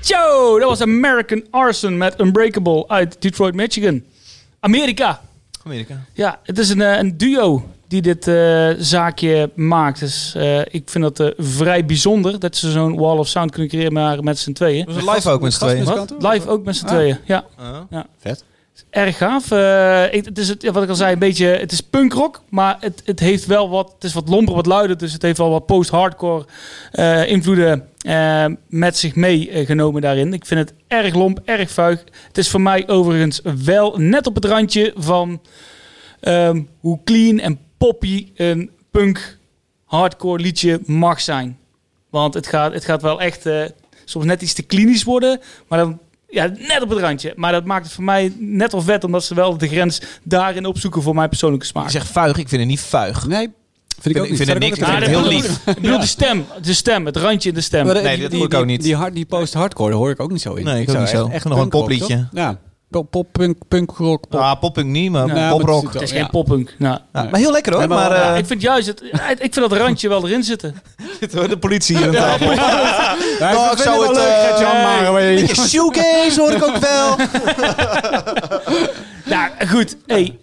C: Yo, dat was American Arson met Unbreakable uit Detroit, Michigan. Amerika.
E: Amerika.
C: Ja, het is een, eh, een duo. die dit eh, zaakje maakt. Dus eh, ik vind dat eh, vrij bijzonder dat ze zo'n Wall of Sound kunnen creëren maar met z'n tweeën.
E: Dat was live ook met z'n tweeën.
A: gast-
C: Wat? Live ook met z'n tweeën, ja.
A: Vet.
C: Erg gaaf. Eh, ik, het is, het, ja, wat ik al zei, een beetje, het is punkrock, maar het, het heeft wel wat, het is wat lomper, wat luider, dus het heeft wel wat post-hardcore eh, invloeden eh, met zich meegenomen genomen daarin. Ik vind het erg lomp, erg vuig. Het is voor mij overigens wel net op het randje van ehm, hoe clean en poppy een punk hardcore liedje mag zijn. Want het gaat, het gaat wel echt eh, soms net iets te klinisch worden, maar dan ja, net op het randje. Maar dat maakt het voor mij net of wet, omdat ze wel de grens daarin opzoeken voor mijn persoonlijke
E: Je
C: smaak.
E: zegt vuig, ik vind het niet vuig.
A: Nee, vind ik ook
E: Ik
A: niet.
E: vind het
A: Zou
E: niks.
A: ook
E: Ik
A: niet
E: vind
C: dat
E: het heel
A: zeggen?
C: bedoel-
E: lief.
C: Ik bedoel de stem, de stem, het randje in de stem.
A: Maar dat-
E: Nee,
A: die-
E: dat
A: die-
E: voel ik ook
A: die-
E: niet.
A: Die, hard- die post-hardcore hoor ik ook niet zo in.
E: Nee, ik ook
A: zou
E: niet zo. Echt nog een
A: punkrock,
E: popliedje.
A: toch? Ja, pop, pop punk, punkrock, pop.
E: Ah, poppunk niet, maar
A: Ja,
E: poprock.
A: maar
C: het is
A: Ja.
C: geen poppunk. Nou,
E: Ja, maar heel lekker hoor.
A: Nee, maar
E: maar
A: wel-
E: eh,
C: ik vind juist het, ik vind dat randje wel erin zitten.
E: zit hoor, de politie hier aan tafel.
A: Ja,
E: Nou, ik zou het... eh, een beetje shoegaze hoor ik ook wel. Vind
C: Nou, goed. Hey,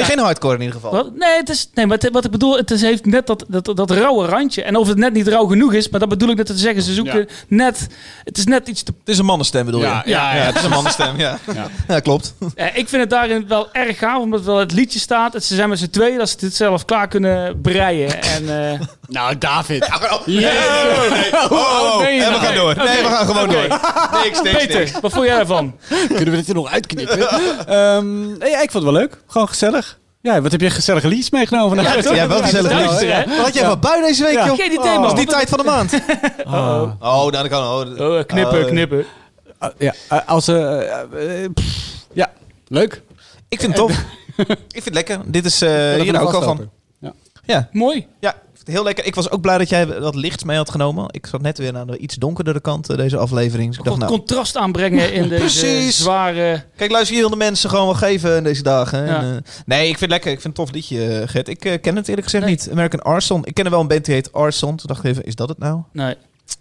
E: je geen hardcore in ieder geval?
C: wat, nee, het is, nee, maar het- wat ik bedoel, het is, heeft net dat, dat, dat rauwe randje. En of het net niet rauw genoeg is, maar dat bedoel ik net te zeggen. Ze zoeken
A: Ja.
C: net, het is net iets te
E: Het is een mannenstem bedoel
A: Ja,
E: je?
C: ja, ja.
E: het is een mannenstem, Ah, ja.
A: Ja.
E: Ja, klopt.
C: Eh, ik vind het daarin wel erg gaaf, omdat wel het liedje staat. Het- Ze zijn met z'n tweeën dat ze dit zelf klaar kunnen breien. En, eh,
A: Nou, David.
E: Ah, Oh,
C: ben je
E: en we
C: nou?
E: gaan door. Nee, we gaan gewoon
C: Oké.
E: door. Niks, niks, niks.
C: Peter, wat vond jij daarvan?
A: Kunnen we dit er nog uitknippen? Ehm, nee, ja, ik vond het wel leuk. Gewoon gezellig. Ja, wat heb je gezellige liedjes meegenomen vandaag?
E: Ja, wel gezellig.
C: Duister, hè?
E: Wat had jij van bui deze week,
A: Ja.
E: joh?
C: Geen idee, man.
E: Het is die tijd van de maand. Oh, nou, dat kan... Oh,
C: Oh, knippen,
E: Oh.
C: knippen.
A: Ah, ja, eh, als... eh, eh, eh, pff, ja,
E: Eh,
A: leuk.
E: ik vind het tof. ik vind het lekker. Dit is eh hier hou ik al van. Ja,
C: Mooi.
E: Ja, ik vind het heel lekker. Ik was ook blij dat jij wat licht mee had genomen. Ik zat net weer aan de iets donkerdere kant eh, deze aflevering. Dus ik dacht,
C: Wat
E: nou,
C: contrast aanbrengen in deze
E: Precies.
C: zware...
E: kijk, luister, je wil de mensen gewoon wel geven in deze dagen. hè.
C: Ja.
E: En, eh, nee, ik vind het lekker. Ik vind het een tof liedje, eh, Gert. Ik eh, ken het eerlijk gezegd
C: Nee.
E: niet. American Arson. Ik ken er wel een band die heet Arson. Toen dacht ik even, is dat het nou?
C: Nee.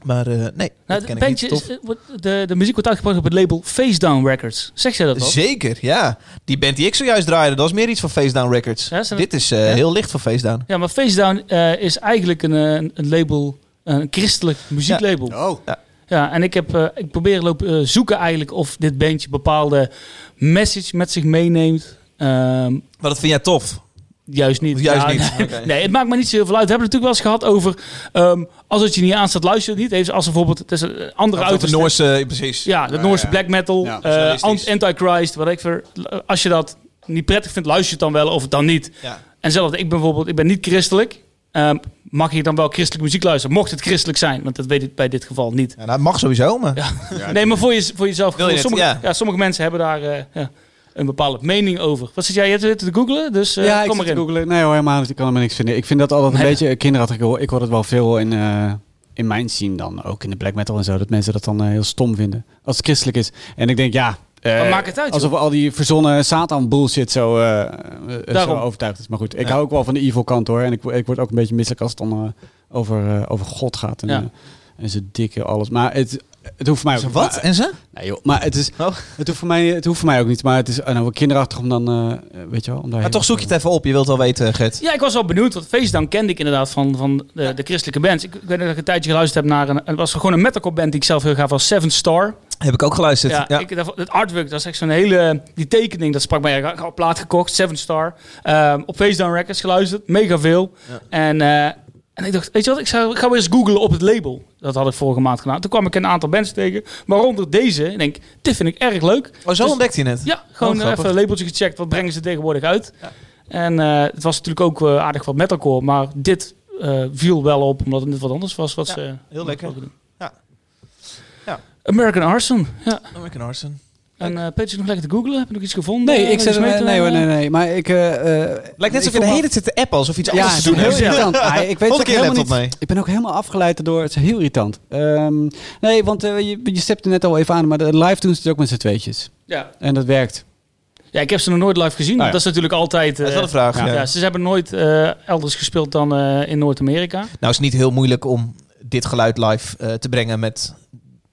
E: Maar eh, nee,
C: Nou,
E: dat
C: het
E: ken ik
C: bandje
E: niet. Tof.
C: is, eh, wordt- de, de muziek wordt uitgebracht op het label Face Down Records. Zeg jij dat al?
E: Zeker, ja. Die band die ik zojuist draaide, dat was meer iets van Face Down Records.
C: Ja, zijn-
E: Dit is eh,
C: Ja.
E: heel licht van Face Down.
C: Ja, maar Face Down eh, is eigenlijk een, eh, een label, een christelijk muzieklabel.
A: Oh.
C: Ja, en ik, heb, eh, ik probeer lopen, eh, zoeken eigenlijk of dit bandje bepaalde message met zich meeneemt. Ehm,
E: Maar dat vind jij tof?
C: juist niet.
E: Juist
C: Ja,
E: niet.
C: Nee,
E: Oké.
C: nee, het maakt me niet zo heel veel uit. We hebben het natuurlijk wel eens gehad over ehm, als het je niet aanstaat, luister het niet. Even als er bijvoorbeeld het is een eh, andere
E: Uit de
C: uiterste.
E: Noorse, eh, precies.
C: Ja, de Noorse
A: ja.
C: black metal,
A: Ja,
C: eh,
E: realistisch.
C: ant- antichrist, wat ik voor. Als je dat niet prettig vindt, luister je het dan wel of het dan niet.
E: Ja.
C: En zelf, ik ben bijvoorbeeld, ik ben niet christelijk. Ehm, mag ik dan wel christelijke muziek luisteren? Mocht het christelijk zijn, want dat weet ik bij dit geval niet.
E: Ja, dat mag sowieso, maar...
C: Nee, maar voor, je, voor jezelf.
E: Wil je het,
C: sommige,
E: ja.
C: sommige mensen hebben daar eh, ja, een bepaalde mening over. Wat zit jij? Je zit te googlen, dus eh,
A: ja, ik
C: kom
A: zit
C: maar
A: te
C: in.
A: googlen. Nee hoor, helemaal niet. Ik kan er maar niks vinden. Ik vind dat altijd een
C: Nee.
A: beetje kinderachtig. hoor. Ik hoor het wel veel in, eh, in mijn scene dan. Ook in de black metal en zo. Dat mensen dat dan eh, heel stom vinden. Als het christelijk is. En ik denk, ja... eh,
C: Wat maakt het uit,
A: alsof al die verzonnen Satan bullshit zo, eh, eh, zo
C: Daarom.
A: overtuigd is. Maar goed, ik hou ook wel van de evil kant hoor. En ik, ik word ook een beetje misselijk als het dan eh, over, eh, over God gaat. En,
C: Ja.
A: eh, en ze dikke alles. Maar het, het hoeft voor mij ook niet.
E: Wat?
A: Maar-
E: En ze?
A: Nee joh, maar het, is,
E: Oh.
A: het, hoeft voor mij, het hoeft voor mij ook niet. Maar het is eh, nou, kinderachtig om dan, eh, weet je wel. Om daar
E: Maar toch zoek je
A: het.
E: het even op. Je wilt wel weten, eh, Gert.
C: Ja, ik was wel benieuwd, want Facedown kende ik inderdaad van, van de, de christelijke bands. Ik, ik weet nog dat ik een tijdje geluisterd heb naar een... Het was gewoon een metalcore band die ik zelf heel gaaf was, Seven Star.
E: Heb ik ook geluisterd.
C: Ja,
E: Ja,
C: Ik, dat- het artwork, dat is echt zo'n hele... Die tekening, dat sprak mij erg aan. Ik had een plaat gekocht, Seven Star. Ehm, op Facedown Records geluisterd, mega veel. En, eh, en ik dacht, weet je wat, ik, zou, ik ga weer eens googlen op het label. Dat had ik vorige maand gedaan. Toen kwam ik een aantal bands tegen, waaronder deze. Ik denk, dit vind ik erg leuk.
E: oh, zo
C: Dus-
E: ontdekte je het?
C: Ja, gewoon
E: Oh,
C: even
E: grappig.
C: een labeltje gecheckt. Wat brengen ze tegenwoordig uit? En eh, het was natuurlijk ook eh, aardig wat metalcore. Maar dit eh, viel wel op, omdat het net wat anders was. Wat
E: Ja,
C: ze,
E: heel lekker.
C: wat ze doen.
E: Ja. Ja.
C: American Arson. Ja.
E: American Arson.
C: En eh Peter zit nog lekker te googlen. Heb je nog iets gevonden?
A: Nee, ik
C: Eh,
A: zet
C: iets
A: hem.
C: mee
A: Nee,
C: te-
A: nee, hoor, nee, nee. Maar ik. eh, eh,
E: Lijkt net
A: ik
E: alsof je de
A: voel
E: hele
A: me-
E: tijd zit te appen, alsof je iets
A: Ja,
E: anders
A: het
E: te
A: is
E: doen
A: heel
E: hebt.
A: irritant. Ah, ik weet
E: Volgende
A: ook
E: keer
A: helemaal
E: laptop
A: niet-
E: mee.
A: Ik ben ook helemaal afgeleid daardoor. Het is heel irritant. Ehm, nee, want eh, je, je stept er net al even aan, maar de live doen ze het ook met z'n tweetjes.
C: Ja.
A: En dat werkt.
C: ja, ik heb ze nog nooit live gezien.
A: Ah, ja.
C: Dat is natuurlijk altijd... eh,
E: Dat is wel een vraag.
A: Ja.
E: ja.
C: ja. ze hebben nooit eh, elders gespeeld dan eh, in Noord-Amerika.
E: Nou is het niet heel moeilijk om dit geluid live eh, te brengen met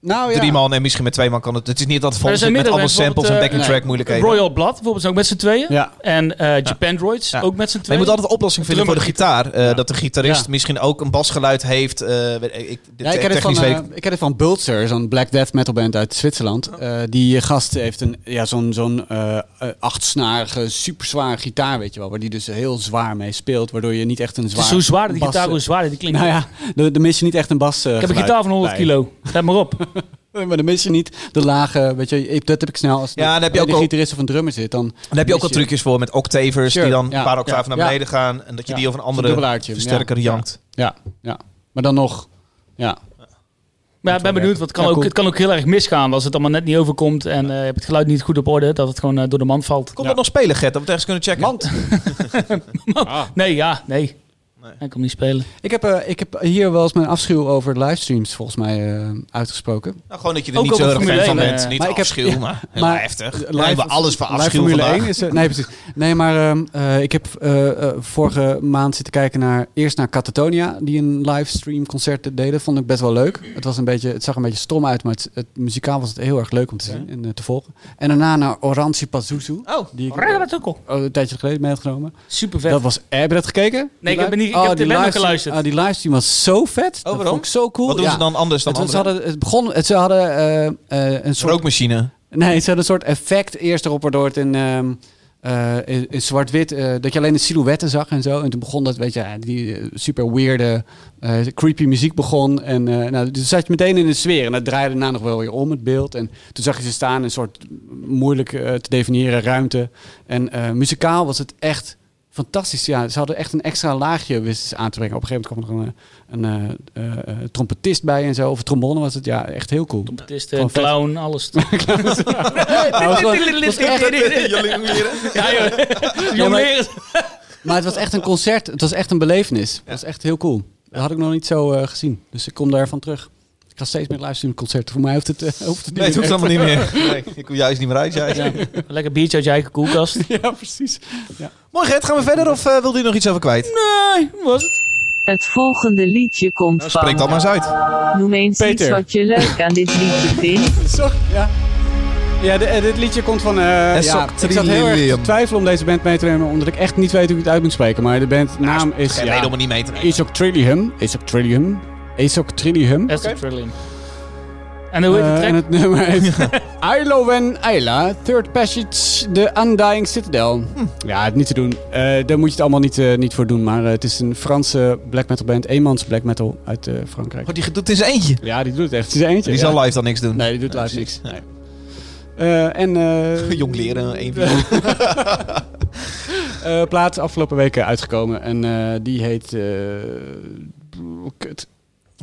A: Nou ja.
E: drie man en misschien met twee man kan het. Het is niet dat het vol
C: Er
E: zit
C: zijn
E: met allemaal
C: meerdere mensen,
E: samples en
C: bijvoorbeeld,
E: backing
A: eh,
E: track moeilijkheden.
C: Royal Blood bijvoorbeeld zijn ook met z'n tweeën.
A: Ja.
C: En eh Japan Droids
A: Ja.
C: ook met z'n
E: Maar
C: tweeën.
E: je moet altijd een oplossing vinden voor de gitaar. eh, Dat de gitarist
A: Ja.
E: misschien ook een basgeluid heeft. eh, weet ik, dit
A: Ja, ik heb het van,
E: technisch weet ik-
A: eh, ik heb het van Bulzer, zo'n black death metal band uit Zwitserland.
E: Oh.
A: Eh, die gast heeft een, ja, zo'n, zo'n eh, eh, achtsnarige, superzware gitaar, weet je wel. Waar die dus heel zwaar mee speelt, waardoor je niet echt een
C: Het
A: zwaar...
C: is hoe zwaarder die
A: bas-
C: gitaar, hoe zwaarder die klinkt.
A: Nou ja, dan dan mis je niet echt een bas eh,
C: ik heb een
A: geluid
C: gitaar van 100
A: bij.
C: kilo. Let maar op.
A: Nee, Maar dan mis je niet de lage, weet je, ik- dat heb ik snel. Als
E: Ja, dan heb je ook
A: de
E: al-
A: gitarist of een drummer zit, dan...
E: Dan heb je ook al trucjes voor met octavers
A: Sure,
E: die dan
A: ja,
E: een paar octaven
A: ja,
E: naar
A: ja.
E: beneden gaan. En dat je
A: Ja,
E: die of een
A: zo'n
E: andere
A: dubbelaartje,
E: versterker
A: ja.
E: jankt.
A: Ja, ja. Maar dan nog, ja.
C: Maar ja, ik ben benieuwd, want het kan,
A: Ja,
C: ook,
A: cool.
C: het kan ook heel erg misgaan als het allemaal net niet overkomt en eh, je hebt het geluid niet goed op orde, dat het gewoon eh, door de mand valt.
E: Komt dat nog spelen, Gert? Dat we het ergens kunnen checken.
A: Want
C: Nee, ja, nee. Hij komt niet spelen.
A: ik heb, eh, ik heb hier wel eens mijn afschuw over livestreams volgens mij eh, uitgesproken.
E: Nou, gewoon dat je er
C: Ook
E: niet zo
C: over
E: erg fan
C: Formule
E: van
C: 1,
E: bent.
C: eh,
E: Niet
A: maar ik heb-
E: afschuw,
A: ja,
E: maar,
A: maar
E: maar eh, heftig.
A: live-
E: Daar hebben we alles voor
A: live
E: afschuw
A: Formule
E: vandaag.
A: 1 is, eh, nee, precies. Nee, maar ehm, eh, ik heb eh, eh, vorige maand zitten kijken naar eerst naar Catatonia, die een livestream concert deden. Vond ik best wel leuk. Het, was een beetje, het zag een beetje stom uit, maar het, het muzikaal was het heel erg leuk om te zien en eh, te volgen. En daarna naar Oranzi Pazuzu,
E: Oh,
A: die ik
C: Raar dat ook al.
A: eh, een tijdje geleden mee had genomen.
C: Super vet.
A: Dat was, heb je dat gekeken? Die
C: ik heb
A: live-
C: niet- ik heb
A: die
C: de band nog
A: livestream-
C: geluisterd. Oh,
A: ah, die livestream was zo vet. dat
E: waarom?
A: vond ik zo cool.
E: wat doen
A: Ja.
E: ze dan anders dan
A: Het, ze
E: andere?
A: hadden, het begon, het, ze hadden eh, eh, een soort
E: Rookmachine.
A: Nee, ze hadden een soort effect eerst erop, waardoor het in, ehm, eh, in, in zwart-wit, eh, dat je alleen de silhouetten zag en zo. En toen begon dat, weet je, ja, die eh, super weirde, eh, creepy muziek begon. En eh, nou, dus zat je meteen in de sfeer en dat draaide daarna nog wel weer om, het beeld. En toen zag je ze staan in een soort moeilijk eh, te definiëren ruimte. En eh, muzikaal was het echt fantastisch. Ja, ze hadden echt een extra laagje wisten ze aan te brengen. Op een gegeven moment kwam er een, eh, een eh, eh, eh, trompetist bij en zo, of een trombone was het. Ja, echt heel cool.
C: Het is de
A: Gewoon vet.
C: clown, alles.
A: Ja, Nou, het was gewoon- het was echt-
C: Ja, joh. Jongleren.
A: Maar het was echt een concert. Het was echt een belevenis. Het was echt heel cool. Dat had ik nog niet zo eh, gezien. Dus ik kom daarvan terug. Ik ga steeds meer luisteren naar concerten. Voor mij hoeft het, eh, hoeft het niet
E: Nee, het hoeft
A: meer.
E: allemaal niet meer. Nee, ik hoef juist niet meer uit. jij.
C: Lekker biertje uit je eigen koelkast.
A: Ja, precies. Ja.
E: Mooi, Gert. Gaan we verder of eh, wil je nog iets over kwijt?
C: Nee, hoe was het?
F: Het volgende liedje komt
E: Nou, spreek
F: van.
E: dat maar eens uit.
F: Noem eens
A: Peter.
F: iets wat je leuk aan dit liedje vindt.
A: Sorry, ja. Ja, de- eh, dit liedje komt van... eh, ja,
E: Esok
A: ik zat heel erg
E: Trillium.
A: te twijfelen om deze band mee te nemen, omdat ik echt niet weet hoe ik het uit moet spreken. Maar de bandnaam is...
E: Geen reden om
A: Ja,
E: het niet mee te nemen.
A: Esok Trillium. Esok Trillium. Esok Trillium.
C: Dat is de thrilling. En hoe heet de
A: Eh, en
C: track?
A: het nummer heet Ilo Wen Ayla, Third Passage, The Undying Citadel.
E: Hm.
A: Ja, niet te doen. Eh, daar moet je het allemaal niet, eh, niet voor doen. Maar eh, het is een Franse black metal band, eenmans black metal uit eh, Frankrijk.
E: Oh, die doet in zijn eentje.
A: Ja, die doet het echt. Het is eentje.
E: Die
A: ja.
E: zal live dan niks doen.
A: Nee, die doet live niks. Nee. Eh, en eh,
E: Jong leren, één van
A: eh, plaat afgelopen weken uitgekomen. En eh, die heet... eh, kut.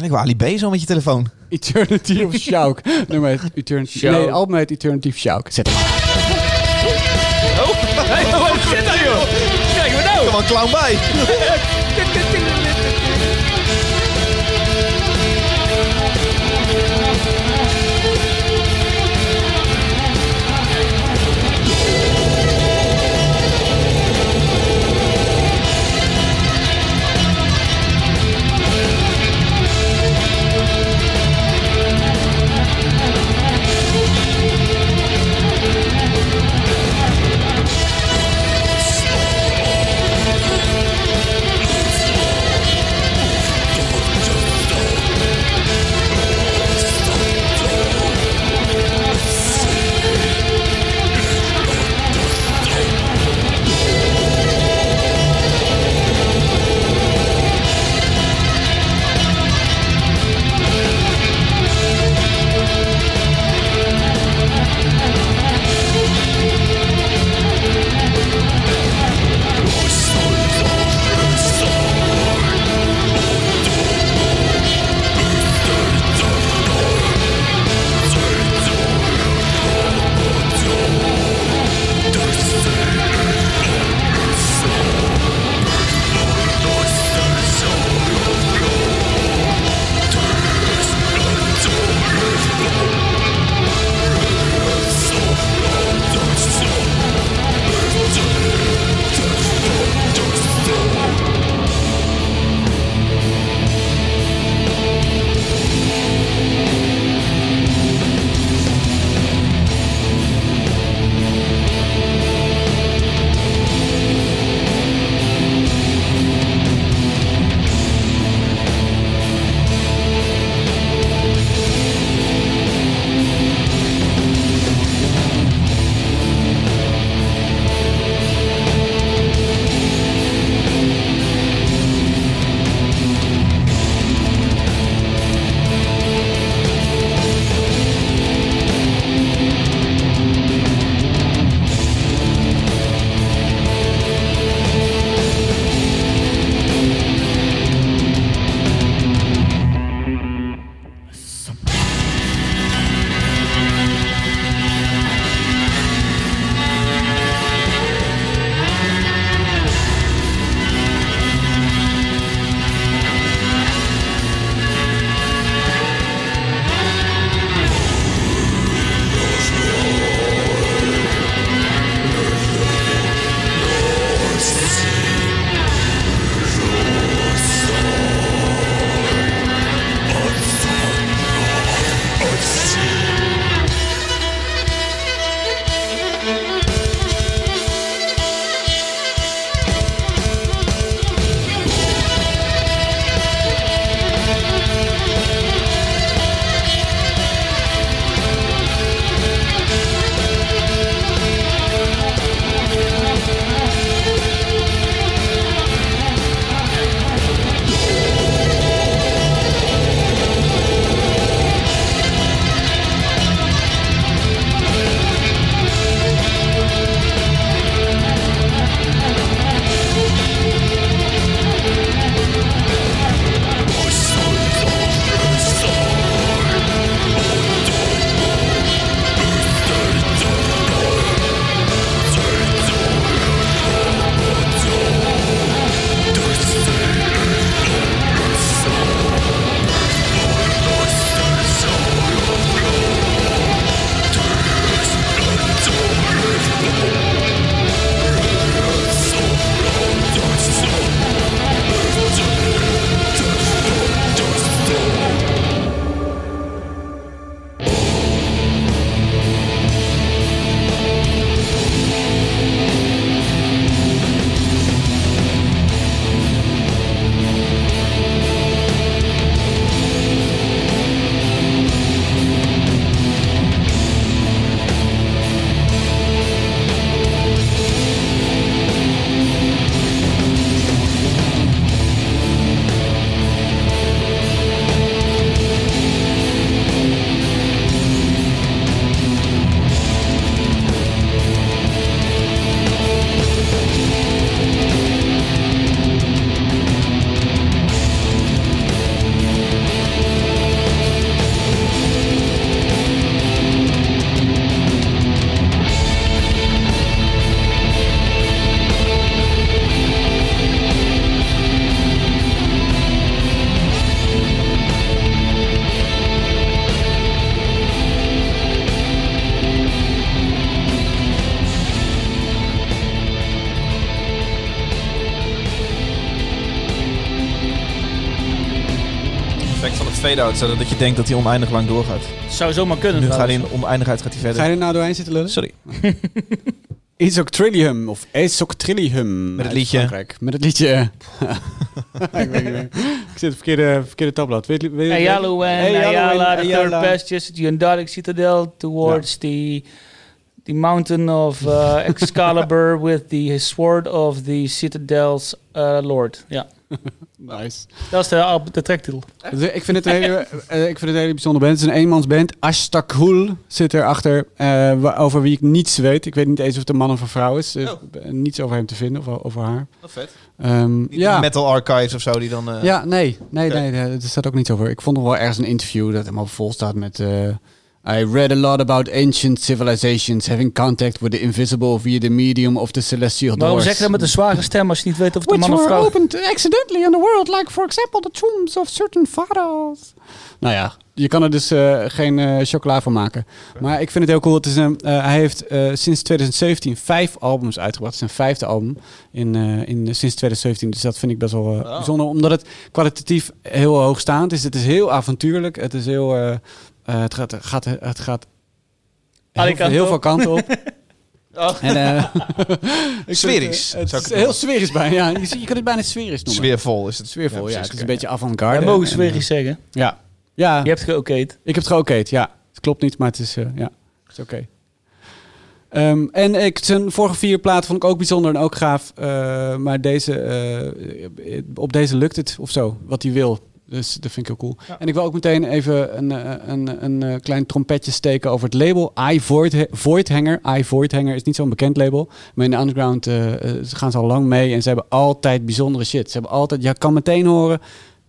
E: Ik wou Ali B zo met je telefoon.
A: Eternity of Shouk. Nummer heet Eternity...
C: Shouk.
A: Nee, album heet Eternity of Shouk. Zet hem af.
C: Wat zit daar, joh? Kijk, wat nou?
E: Oh. Kom maar, clown bij.
H: Thank
E: fade-out, zodat dat je denkt dat hij oneindig lang doorgaat.
C: Zou zomaar kunnen.
E: Nu gaat hij
C: trouwens.
E: in oneindigheid gaat hij verder.
A: Ga je er nou doorheen zitten lullen?
E: Sorry.
A: Isoctrillium of Isoctrillium.
E: Met het
A: uit
E: liedje.
A: Frankrijk. Met het liedje. ik weet niet meer. Ik zit op verkeerde, verkeerde tabblad. Weet, weet, weet,
C: Ayala, en
A: Hey, Yalo en
C: Ayala, the third
A: Ayala.
C: best, just the Undardic Citadel towards the, the mountain of uh, Excalibur with the sword of the Citadel's uh, lord. Ja,
A: Nice.
C: dat is de, al- de tracktitel.
A: Dus Ik vind het een hele, eh, ik vind het een hele bijzondere band. Het is een eenmansband. Ashtakul zit erachter. eh wa- over wie ik niets weet. Ik weet niet eens of het een man of een vrouw is. Eh, Niets over hem te vinden of o- over haar.
E: vet.
A: Ehm, ja.
E: Metal Archives of zo, die dan... eh,
A: ja, nee. Nee,
E: Oké.
A: nee, nee. Er staat ook niets over. Ik vond nog wel ergens een interview dat helemaal vol staat met... eh, I read a lot about ancient civilizations having contact with the invisible via the medium of the celestial doors.
C: Waarom zeg je dat met een zware stem als je niet weet of het een
A: Which
C: man of
A: were
C: vrouw is?
A: opened accidentally in the world, like for example the tombs of certain pharaohs. Nou ja, je kan er dus eh, geen eh, chocola van maken. Maar ik vind het heel cool. Het is een, eh, hij heeft eh, sinds 2017 vijf albums uitgebracht. Het is zijn vijfde album in, eh, in, sinds 2017. Dus dat vind ik best wel eh, bijzonder. Omdat het kwalitatief heel hoogstaand is. Het is heel avontuurlijk. Het is heel... eh, eh, het gaat, gaat, het gaat heel, veel-
C: Alle kanten
A: heel
C: op.
A: veel kanten op. En, eh, ik vind het,
E: Sferisch,
A: eh, Het,
E: zou ik
A: is
E: het
A: heel sferisch bijna. Ja. Je, ziet- je kunt het bijna sferisch noemen.
E: Sfeervol is het.
A: Sfeervol, ja.
E: precies,
A: het is een
E: oké.
A: beetje avant-garde.
C: Ja, mogen
A: En,
C: ze weer iets zeggen.
A: eh, Ja. Ja,
C: Je hebt geokeerd.
A: ik heb het geokeerd. Ja, het klopt niet, maar het is, eh, ja, het is oké. Ehm, en ik, zijn vorige vier plaat vond ik ook bijzonder en ook gaaf. eh, maar deze, eh, op deze lukt het of zo, wat hij wil. Dus dat vind ik heel cool. En ik wil ook meteen even een, eh, een, een, eh, klein trompetje steken over het label. I Void, Voidhanger. I Voidhanger is niet zo'n bekend label. Maar in de underground eh, eh, ze gaan ze al lang mee. En ze hebben altijd bijzondere shit. Ze hebben altijd, je kan meteen horen,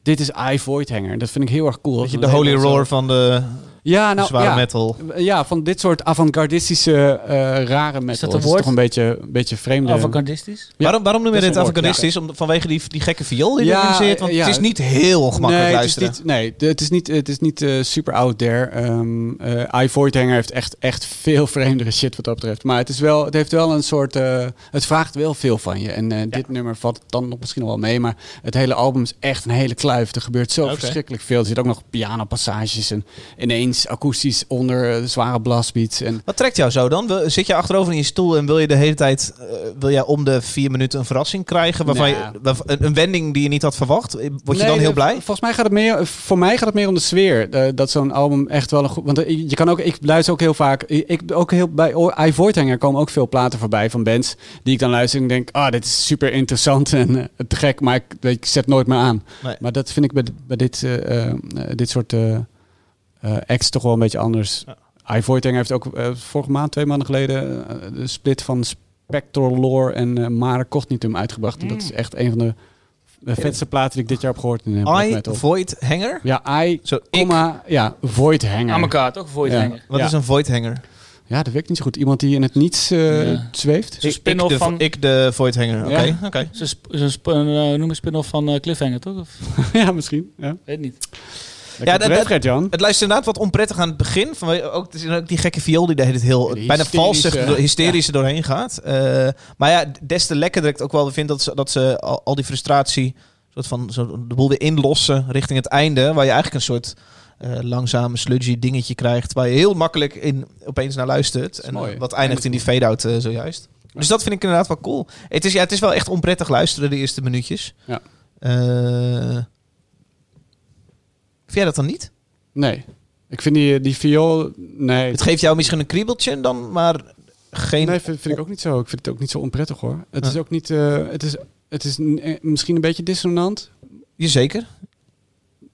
A: dit is I Voidhanger. Dat vind ik heel erg cool.
E: Weet je,
A: Dat
E: de
A: een
E: holy
A: label zo-
E: roar van de
A: ja, nou,
E: zware
A: ja.
E: metal.
A: Ja, van dit soort avant-gardistische, eh, rare metal.
C: Is dat een
A: Het
C: woord?
A: toch een beetje, een beetje vreemde...
C: Avocardistisch.
A: Ja.
E: Waarom, waarom noem je
A: Dat is
E: dit
A: een woord,
E: avantgardistisch? Om- Vanwege die, die gekke viool die
A: Ja,
E: erin zit? Want
A: ja.
E: het is niet heel gemakkelijk
A: nee,
E: luisteren.
A: Het is niet, nee, de- het is niet, het is niet eh, super out there. Ehm eh I Voidhanger heeft echt, echt veel vreemdere shit wat dat betreft. Maar het, is wel, het heeft wel een soort... eh, het vraagt wel veel van je. En eh, dit nummer valt dan nog misschien nog wel mee. Maar het hele album is echt een hele kluif. Er gebeurt zo verschrikkelijk veel. Er zitten ook nog pianopassages. En ineens akoestisch onder eh, zware blastbeats. En
E: Wat trekt jou zo dan? Wil- Zit je achterover in je stoel en wil je de hele tijd... eh, wil jij om de vier minuten een verrassing krijgen? Waarvan
A: Nou.
E: je, waarvan- een, een wending die je niet had verwacht? Word je
A: Nee,
E: dan heel
A: eh,
E: blij?
A: v- Volgens mij gaat het meer, voor mij gaat het meer om de sfeer. eh, dat zo'n album echt wel een goed. Want eh, je kan ook, ik luister ook heel vaak. Ik ik ben ook heel bij oh, I Voidhanger komen ook veel platen voorbij van bands die ik dan luister en denk, ah, dit is super interessant en eh, te gek, maar ik, weet, ik zet nooit meer aan.
E: Nee.
A: Maar dat vind ik bij, bij dit, eh, eh, dit soort eh eh, acts toch wel een beetje anders. I Voidhanger heeft ook eh, vorige maand, twee maanden geleden, eh, de split van Spectral Lore en eh Mare Cognitum uitgebracht. En
E: Mm.
A: dat is echt een van de eh, vetste platen die ik dit jaar heb gehoord in eh, black
E: I,
A: metal.
E: void, hanger?
A: Ja, I,
E: Zo, ik.
A: comma, ja, void hanger.
C: Aan elkaar, toch? Voor je
A: Ja.
C: zanger.
E: Wat
A: Ja.
E: is een void hanger?
A: Ja, dat werkt niet zo goed. Iemand die in het niets eh,
C: Ja.
A: zweeft.
C: Zo'n
E: Ik, ik,
C: spin-off
E: de,
C: van...
E: ik de void hanger. Oké,
A: Ja.
E: oké.
C: Zo'n sp- zo'n sp- een, eh, noem een spin-off van eh, Cliffhanger, toch? Of,
A: ja, misschien. Ja,
C: weet niet.
A: ja
E: dat-
A: dat
E: dat-
A: werd Jan.
E: Het luistert inderdaad wat onprettig aan het begin. Van, ook, er zit ook die gekke viool die de hele tijd heel
A: Ja, die
E: bijna
A: hysterische-
E: valsig, door- hysterisch er doorheen gaat. Eh, maar ja, des te lekker dat ik ook wel vind dat ze, dat ze al, al die frustratie, soort van zo de boel weer inlossen richting het einde. Waar je eigenlijk een soort eh, langzame sludgy dingetje krijgt. Waar je heel makkelijk in, opeens naar luistert. En eh,
A: mooi.
E: wat eindigt in die fade-out eh, zojuist. Dus dat vind ik inderdaad wel cool. Het is, ja, het is wel echt onprettig luisteren, de eerste minuutjes.
A: Ja.
E: Eh, vind jij dat dan niet?
A: Nee. Ik vind die, die viool... Nee.
E: Het geeft jou misschien een kriebeltje dan, maar geen...
A: Nee, vind, vind ik ook niet zo. Ik vind het ook niet zo onprettig hoor. Het is ook niet... eh, het is, het is n- eh, misschien een beetje dissonant.
E: Jazeker.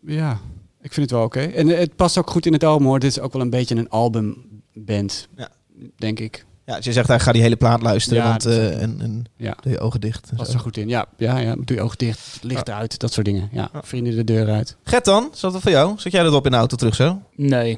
A: Ja, ik vind het wel oké. En eh, het past ook goed in het album hoor. Dit is ook wel een beetje een albumband.
E: Ja.
A: Denk ik.
E: Ja, als je zegt, hij ga die hele plaat luisteren
A: Ja,
E: want,
A: dat is-
E: eh, en, en
A: Ja.
E: doe je ogen dicht. en
A: Past
E: zo.
A: er goed in. Ja, ja, ja. Doe je oog dicht. Licht uit. Dat soort dingen. Ja. Vrienden de deur uit.
E: Gert dan, zat dat voor jou? Zet jij dat op in de auto terug zo?
C: Nee.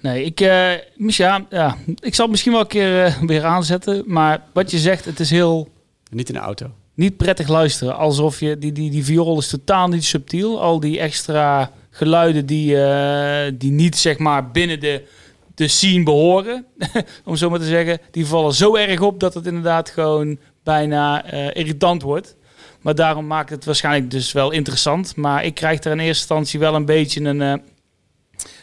C: Nee, ik, eh Misha, ja, ik zal het misschien wel een keer eh, weer aanzetten. Maar wat je zegt, het is heel
A: Niet in de auto.
C: niet prettig luisteren. Alsof je, die, die, die viool is totaal niet subtiel. Al die extra geluiden die, eh, die niet zeg maar binnen de, de scene behoren. om zo maar te zeggen. Die vallen zo erg op dat het inderdaad gewoon bijna eh, irritant wordt. Maar daarom maakt het waarschijnlijk dus wel interessant. Maar ik krijg er in eerste instantie wel een beetje een, eh,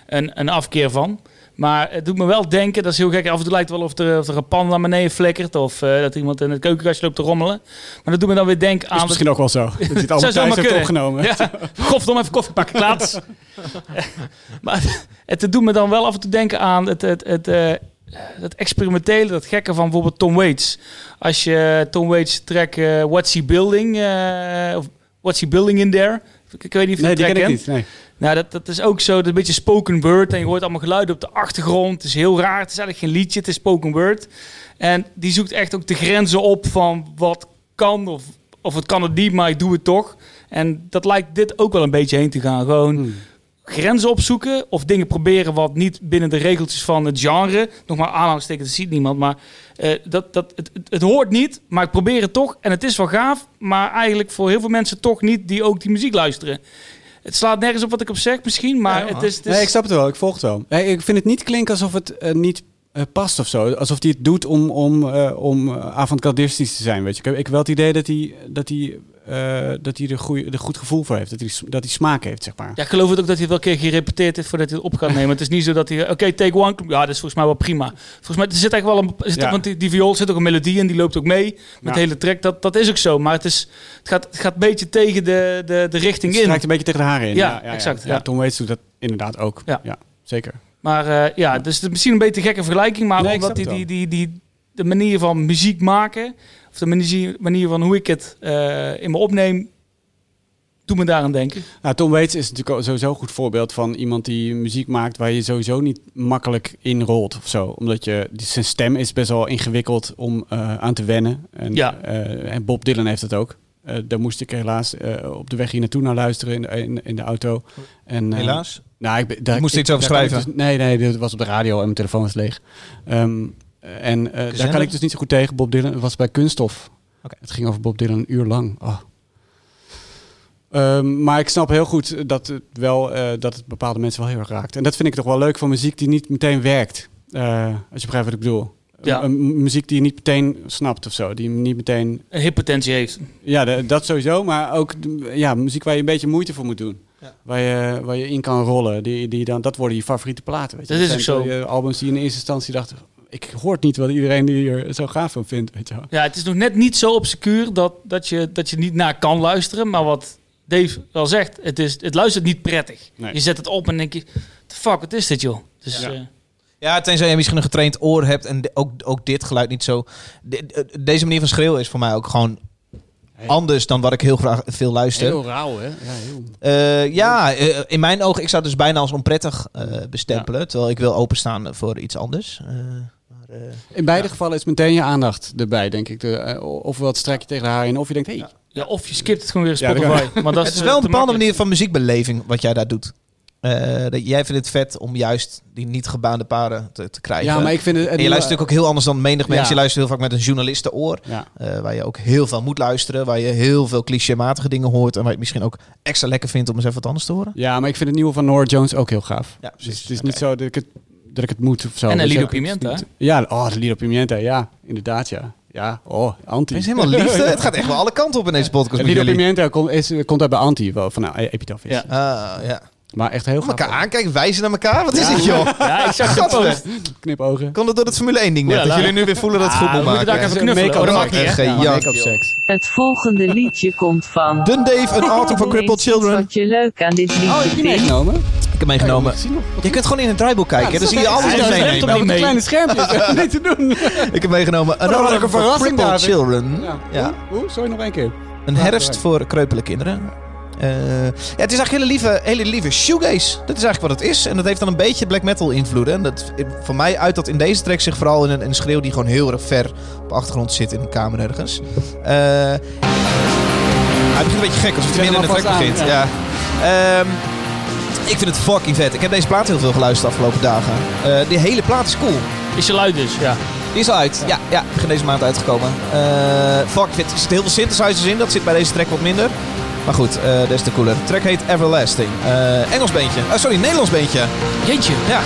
C: een, een afkeer van. Maar het doet me wel denken, dat is heel gek. Af en toe lijkt het wel of er, of er een pan naar beneden flikkert. Of eh, dat iemand in het keukenkastje loopt te rommelen. Maar dat doet me dan weer denken aan...
A: Is misschien ook wel zo. Dat hij het allemaal thuis
C: zomaar
A: heeft
C: kunnen.
A: opgenomen.
C: Ja, godverdomme, even koffie pakken, plaats. maar het, het doet me dan wel af en toe denken aan het, het, het, eh, het experimentele, dat gekke van bijvoorbeeld Tom Waits. Als je Tom Waits track eh, What's He Building, eh, of What's He Building In There... Ik, ik weet niet of je
A: Nee,
C: de
A: die
C: track
A: ken ik
C: kent.
A: niet. Nee.
C: Nou, dat, dat is ook zo. Dat is een beetje spoken word. En je hoort allemaal geluiden op de achtergrond. Het is heel raar. Het is eigenlijk geen liedje. Het is spoken word. En die zoekt echt ook de grenzen op van wat kan of, of het kan het niet, maar ik doe het toch. En dat lijkt dit ook wel een beetje heen te gaan. Gewoon
A: Hmm.
C: grenzen opzoeken of dingen proberen wat niet binnen de regeltjes van het genre. Nog maar aanhalingstekens, dat ziet niemand. Maar eh, dat, dat, het, het, het hoort niet, maar ik probeer het toch. En het is wel gaaf, maar eigenlijk voor heel veel mensen toch niet die ook die muziek luisteren. Het slaat nergens op wat ik op zeg misschien, maar het is... Het is
A: Nee, ik snap het wel. Ik volg het wel. Hey, ik vind het niet klinken alsof het eh, niet eh, past of zo. Alsof hij het doet om, om, eh, om eh, avondgardistisch te zijn. Weet je. Ik heb ik heb wel het idee dat hij, dat hij, eh, dat hij er, goeie, er goed gevoel voor heeft. Dat hij, s- dat hij smaak heeft, zeg maar.
C: Ja, ik geloof het ook dat hij het wel een keer gerepeteerd heeft voordat hij het op gaat nemen. Het is niet zo dat hij, eh, oké, take one. Ja, dat is volgens mij wel prima. Volgens mij er zit eigenlijk wel een, er zit
A: Ja.
C: ook- want die, die viool zit ook een melodie in, die loopt ook mee met
A: Ja.
C: de hele track. Dat, dat is ook zo, maar het, is, het, gaat, het gaat een beetje tegen de, de, de richting
A: Het
C: in.
A: strijkt een beetje tegen de haren in.
C: Ja, exact, ja.
A: Tom Waits doet dat inderdaad ook.
C: Ja.
A: Ja, zeker.
C: Maar eh, ja, dus het is misschien een beetje een gekke vergelijking, maar
A: Nee, ik
C: omdat die,
A: snap
C: die,
A: het
C: die, die, de manier van muziek maken, of de manier, manier van hoe ik het eh, in me opneem, doet me daaraan denken.
A: Nou, Tom Waits is natuurlijk ook sowieso een goed voorbeeld van iemand die muziek maakt waar je sowieso niet makkelijk in rolt of zo. Omdat je, die- zijn stem is best wel ingewikkeld om eh, aan te wennen. En,
C: Ja.
A: eh, en Bob Dylan heeft dat ook. Eh, daar moest ik helaas eh, op de weg hier naartoe naar luisteren in de, in, in de auto. En, eh,
E: Helaas.
A: nou, ik, ben- daar,
E: moest
A: ik-
E: iets over
A: daar kan ik
E: schrijven.
A: dus- nee, nee, dit was op de radio en mijn telefoon was leeg. Ehm, en eh, daar kan
E: zender?
A: ik dus niet zo goed tegen. Bob Dylan het was bij Kunststof.
E: Oké.
A: Het ging over Bob Dylan een uur lang. Ah. Ehm, maar ik snap heel goed dat het, wel, eh, dat het bepaalde mensen wel heel erg raakt. En dat vind ik toch wel leuk van muziek die niet meteen werkt. Eh, als je begrijpt wat ik bedoel.
C: Ja.
A: Een- een muziek die je niet meteen snapt of zo. Die niet meteen...
C: Een hip potentie heeft.
A: Ja, de- dat sowieso. Maar ook ja, muziek waar je een beetje moeite voor moet doen. Waar, je, waar je in kan rollen. Die, die dan, dat worden je favoriete platen. Weet je.
C: Dat is
A: zijn
C: ook zo.
A: je Albums die in eerste instantie dachten... Ik hoort niet wat iedereen hier zo gaaf van vindt. Weet je wel.
C: Ja, het is nog net niet zo obscuur dat, dat, je, dat je niet naar kan luisteren. Maar wat Dave wel zegt, het, is, het luistert niet prettig.
A: Nee.
C: Je zet het op en denk je, "The fuck, wat is dit joh? Dus,
A: Ja.
C: eh,
E: Ja, tenzij je misschien een getraind oor hebt en de- ook, ook dit geluid niet zo. De- de- deze manier van schreeuwen is voor mij ook gewoon anders dan wat ik heel graag veel luister.
A: rauw, hè? Ja, heel...
E: Eh, ja, eh, in mijn ogen, ik zou het dus bijna als onprettig eh, bestempelen. Terwijl ik wil openstaan voor iets anders. Eh, maar, eh,
A: In beide gevallen is meteen je aandacht erbij, denk ik. De, eh, ofwel het strek je tegen haar in, of je denkt, hey,
C: ja, of je skipt het gewoon weer
A: Ja,
C: in
A: dat
C: Spotify. maar dat
E: het is
C: eh,
E: wel een
C: te
E: bepaalde
C: makkelijk.
E: manier van muziekbeleving wat jij daar doet. Eh, dat- jij vindt het vet om juist die niet gebaande paren te, te krijgen.
A: ja, maar ik vind het...
E: En je luistert natuurlijk ook heel anders dan menig mensen.
A: Ja.
E: Je luistert heel vaak met een journalistenoor.
A: Ja,
E: Eh, waar je ook heel veel moet luisteren. Waar je heel veel clichématige dingen hoort. En waar je het misschien ook extra lekker vindt om eens even wat anders te horen.
A: ja, maar ik vind het nieuwe van Nora Jones ook heel gaaf.
E: Ja,
A: Dus het is niet zo dat ik het, dat ik het moet of zo.
C: En een
A: Dus
C: Lido
A: ja,
C: Pimienta.
A: het- Ja, oh, de Lido Pimienta, ja. Inderdaad, ja. Ja, oh, anti.
E: Het is helemaal liefde. Het gaat echt wel alle kanten op in deze podcast
A: En
E: met
A: Lido
E: jullie.
A: Pimienta komt, is, komt uit bij anti, wel, van nou, Epitaph is.
C: Ja.
E: Ah, ja.
A: Maar echt heel
E: Om
A: gaaf.
E: elkaar aankijken, wijzen naar elkaar. Wat is dit, joh?
C: Ja, ik zag het
E: Gadver.
C: post.
A: Knipogen.
E: Komt het door het Formule 1 ding net?
C: Ja,
E: dat
C: la.
E: jullie nu weer voelen dat het
C: Ah,
E: goed
C: we
E: moet
C: moeten daar
E: maken.
C: even knuffelen.
A: Make-up
C: Oh, dat mag
E: seks.
C: niet, hè?
E: Geen
A: Ja,
E: jank,
A: make-up
E: joh.
A: seks.
F: Het volgende liedje komt van.
E: Dun Dave,
F: Oh,
E: een auto for
F: Noem eens
E: crippled
F: iets
E: children.
F: Wat je leuk aan dit
A: Oh, heb
F: liedje
A: je
F: vindt.
A: meegenomen?
E: Ik heb meegenomen.
A: Zie nog.
E: Je kunt gewoon in het draaiboek kijken.
A: Ja,
E: dan
A: dat
E: zie je
A: is-
E: alles
A: ja, dat
E: meteen.
A: is-
E: nemen.
A: toch niet
C: mee.
A: met kleine schermpjes? Dat is niet te doen.
E: Ik heb meegenomen. Een
A: had ik
E: auto
A: een
E: for
A: verrassing,
E: crippled
A: David.
E: children.
A: Ja.
E: Ja.
A: Hoe? Hoe? Sorry, nog één keer.
E: Een herfst voor kreupele kinderen. Eh, ja, het is eigenlijk hele lieve, hele lieve shoegaze. Dat is eigenlijk wat het is. En dat heeft dan een beetje black metal invloeden. En dat, voor mij uit dat in deze track zich vooral in een, een schreeuw die gewoon heel erg ver op de achtergrond zit in een kamer ergens. Eh, hij begint een beetje gek, alsof hij
A: Zet
E: midden in
A: hem alvast
E: de track
A: aan,
E: begint. Ja. Ehm, ik vind het fucking vet. Ik heb deze plaat heel veel geluisterd de afgelopen dagen. Eh, die hele plaat is cool.
C: Is je luid dus, ja.
E: Die is al uit. Ja, ja, begin deze maand uitgekomen. Eh fuck, fit. er zitten heel veel synthesizers in. Dat zit bij deze track wat minder. Maar goed, eh des te cooler. De track heet Everlasting. Eh, Engels beentje. Oh, sorry, Nederlands beentje.
C: Jeetje.
E: Ja.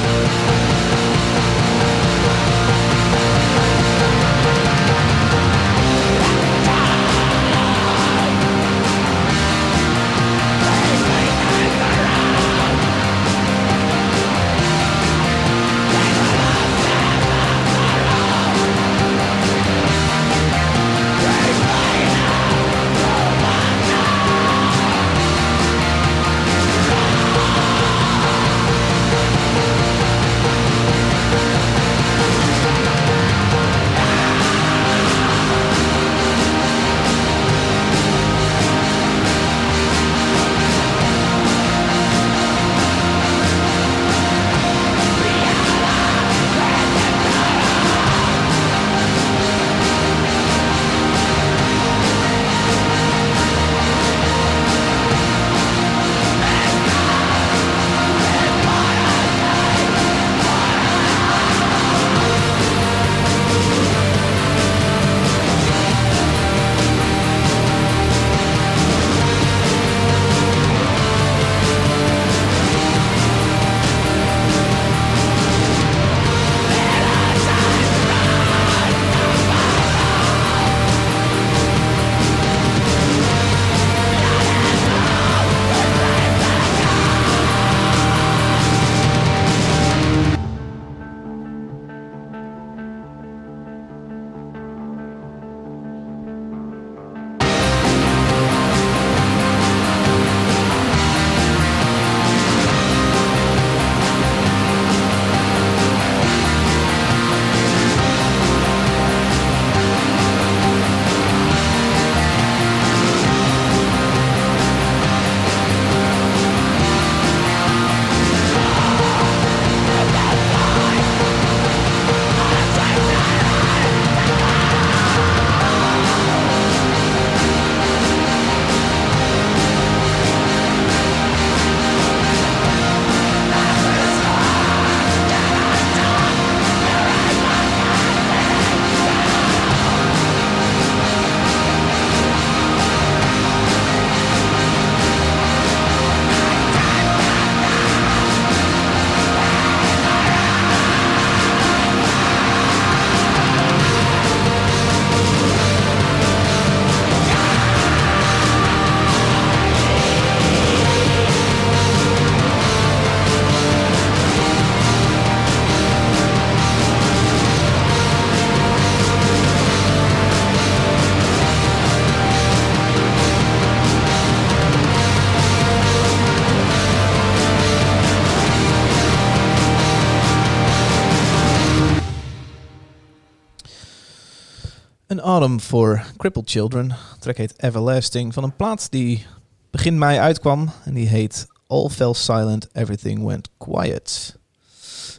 E: An Autumn for Crippled Children. De track heet Everlasting. Van een plaat die begin mei uitkwam. En die heet All Fell Silent, Everything Went Quiet.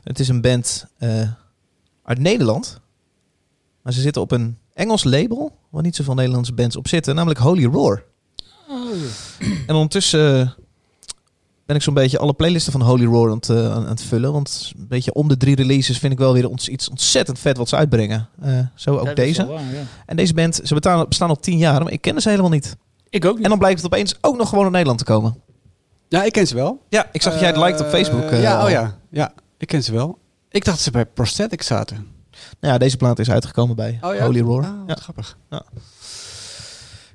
E: Het is een band eh, uit Nederland. Maar ze zitten op een Engels label. Waar niet zoveel Nederlandse bands op zitten. Namelijk Holy Roar.
C: Oh.
E: En ondertussen eh, ben ik zo'n beetje alle playlisten van Holy Roar aan het, eh, aan aan het vullen. Want een beetje om de drie releases vind ik wel weer ons, iets ontzettend vet wat ze uitbrengen. Eh, zo ook
C: Ja, dat is
E: deze.
C: wel waar, ja.
E: En deze band, ze betalen- bestaan al tien jaar, maar ik kende ze helemaal niet.
C: Ik ook niet.
E: En dan blijkt het opeens ook nog gewoon naar Nederland te komen.
A: Ja, ik ken ze wel.
E: Ja, ik zag dat jij het
A: Eh,
E: liked op Facebook. eh,
A: ja,
E: al.
A: oh ja. Ja, ik ken ze wel. Ik dacht dat ze bij Prosthetic zaten.
E: Nou ja, deze plaat is uitgekomen bij Holy Roar.
A: Ah, wat
E: ja.
A: grappig.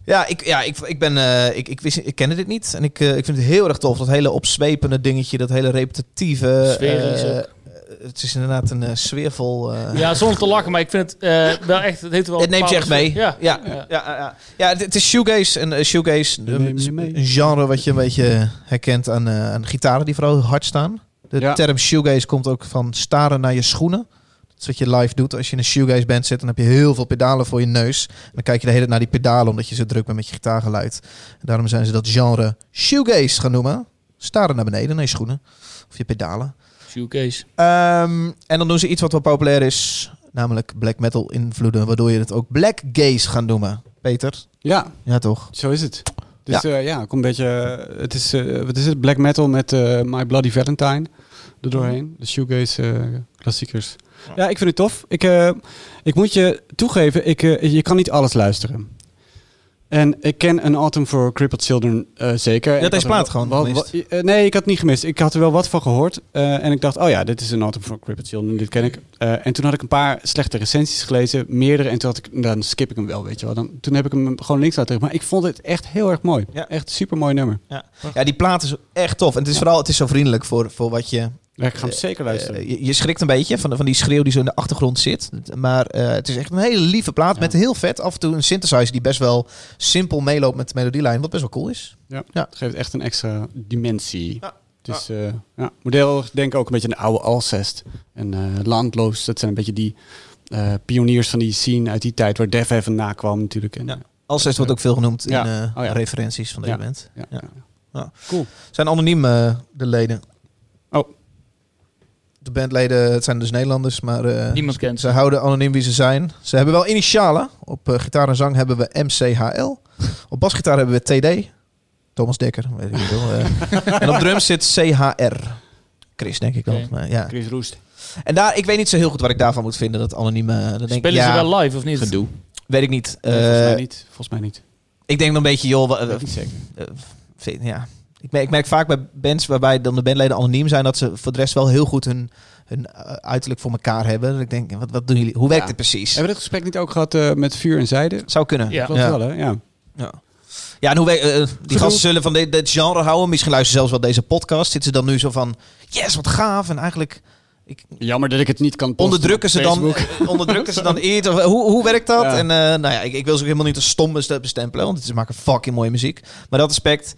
E: Ja, ik, ja, ik, ik, ben, eh, ik, ik, wist, ik kende dit niet. En ik, eh, ik vind het heel erg tof. Dat hele opzwepende dingetje, dat hele repetitieve.
C: Sfeer is
E: eh,
C: ook.
E: het is inderdaad een eh, sfeervol. eh,
C: Ja, zonder te lachen, maar ik vind het eh, wel echt... Het, heeft wel
E: het neemt je echt
C: bepaalde-
E: mee. Ja,
C: Ja.
E: ja, ja.
C: Ja.
E: ja, ja. het, het is shoegaze. En eh, shoegaze,
A: Die nemen je
E: een,
A: mee.
E: een genre wat je een beetje herkent aan, eh, aan gitaren die vooral hard staan. De
A: Ja.
E: term shoegaze komt ook van staren naar je schoenen. Dat is wat je live doet. Als je in een shoegaze band zit, dan heb je heel veel pedalen voor je neus. En dan kijk je de hele tijd naar die pedalen, omdat je zo druk bent met je gitaargeluid. En daarom zijn ze dat genre shoegaze gaan noemen. Staren naar beneden, naar je schoenen. Of je pedalen.
C: Shoegaze.
E: Ehm, en dan doen ze iets wat wel populair is, namelijk black metal invloeden, waardoor je het ook black gaze gaat noemen. Peter?
A: Ja,
E: Ja, toch?
A: zo is het. Dus ja, ja komt een beetje... eh, Het is, eh, wat is het? Black metal met eh, My Bloody Valentine er doorheen. De shoegaze eh, klassiekers. Ja, ik vind het tof. Ik, eh, ik moet je toegeven, ik, eh, je kan niet alles luisteren. En ik ken een Autumn for Crippled Children eh, zeker. En ik
E: deze
A: had er
E: plaat gewoon
A: wel-
E: gemist.
A: wa- eh, nee, ik had het niet gemist. Ik had er wel wat van gehoord. eh, en ik dacht, oh ja, dit is een Autumn for Crippled Children, dit ken ik. Eh, en toen had ik een paar slechte recensies gelezen, meerdere. En toen had ik, dan skip ik hem wel, weet je wel. Dan, toen heb ik hem gewoon links laten liggen. Maar ik vond het echt heel erg mooi.
E: Ja.
A: Echt super mooi nummer.
E: Ja, die plaat is echt tof. En het is vooral het is zo vriendelijk voor, voor wat je,
A: Ja, ik ga hem zeker luisteren.
E: eh, je... Je schrikt een beetje van, van die schreeuw die zo in de achtergrond zit. Maar eh, het is echt een hele lieve plaat met heel vet af en toe een synthesizer die best wel simpel meeloopt met de melodielijn, wat best wel cool is.
A: Ja.
E: Ja.
A: Het geeft echt een extra dimensie.
E: Ja.
A: Het is, eh, ja, model denk ook een beetje aan de oude Alcest en eh, Landloos. Dat zijn een beetje die eh, pioniers van die scene uit die tijd waar Def even nakwam natuurlijk. En,
E: Ja.
A: eh,
E: Alcest wordt ook veel genoemd
A: Ja.
E: in eh,
A: Oh ja.
E: referenties van deze
A: Ja.
E: band.
A: ja,
E: Ja.
A: ja.
E: Ja.
A: Cool.
E: Zijn anoniem eh, de leden.
A: Oh.
E: De bandleden, het zijn dus Nederlanders, maar eh,
C: Niemand kent
E: ze
C: ze.
E: houden anoniem wie ze zijn. Ze hebben wel initialen. Op eh, gitaar en zang hebben we MCHL. Op basgitaar hebben we TD. Thomas Dekker, weet ik niet wel. eh. en op drums zit CHR. Chris, denk ik wel.
C: Oké.
E: Maar, ja.
A: Chris Roest.
E: En daar, ik weet niet zo heel goed wat ik daarvan moet vinden, dat anonieme. eh, Dan denk ik,
C: Spelen
E: ja,
C: ze wel live of niet?
E: Gedoe. Weet ik niet.
A: Nee, volgens
E: Eh,
A: mij niet. Volgens mij niet.
E: ik denk dan een beetje, joh, wa-
A: Weet ik niet zeker.
E: eh, vind- ja. Ik merk, ik merk vaak bij bands waarbij dan de bandleden anoniem zijn, dat ze voor de rest wel heel goed hun, hun eh, uiterlijk voor elkaar hebben. Dat ik denk, wat, wat doen jullie? Hoe werkt
A: Ja.
E: het precies?
A: Hebben we dit gesprek niet ook gehad eh, met vuur en zijde?
E: Zou kunnen.
C: Ja.
A: Klopt wel, hè? Ja.
E: Ja. Ja, en hoe we- eh, eh, die gasten zullen van dit, dit genre houden. Misschien luisteren ze zelfs wel deze podcast. Zitten ze dan nu zo van, yes, wat gaaf. En eigenlijk
A: Jammer dat ik het niet kan posten
E: onderdrukken
A: op
E: ze, dan,
A: Facebook.
E: eh, onderdrukken ze dan iets. Of, eh, hoe, hoe werkt dat?
A: Ja.
E: En eh, nou ja, ik, ik wil ze ook helemaal niet als stom best- bestempelen. Want ze maken fucking mooie muziek. Maar dat aspect,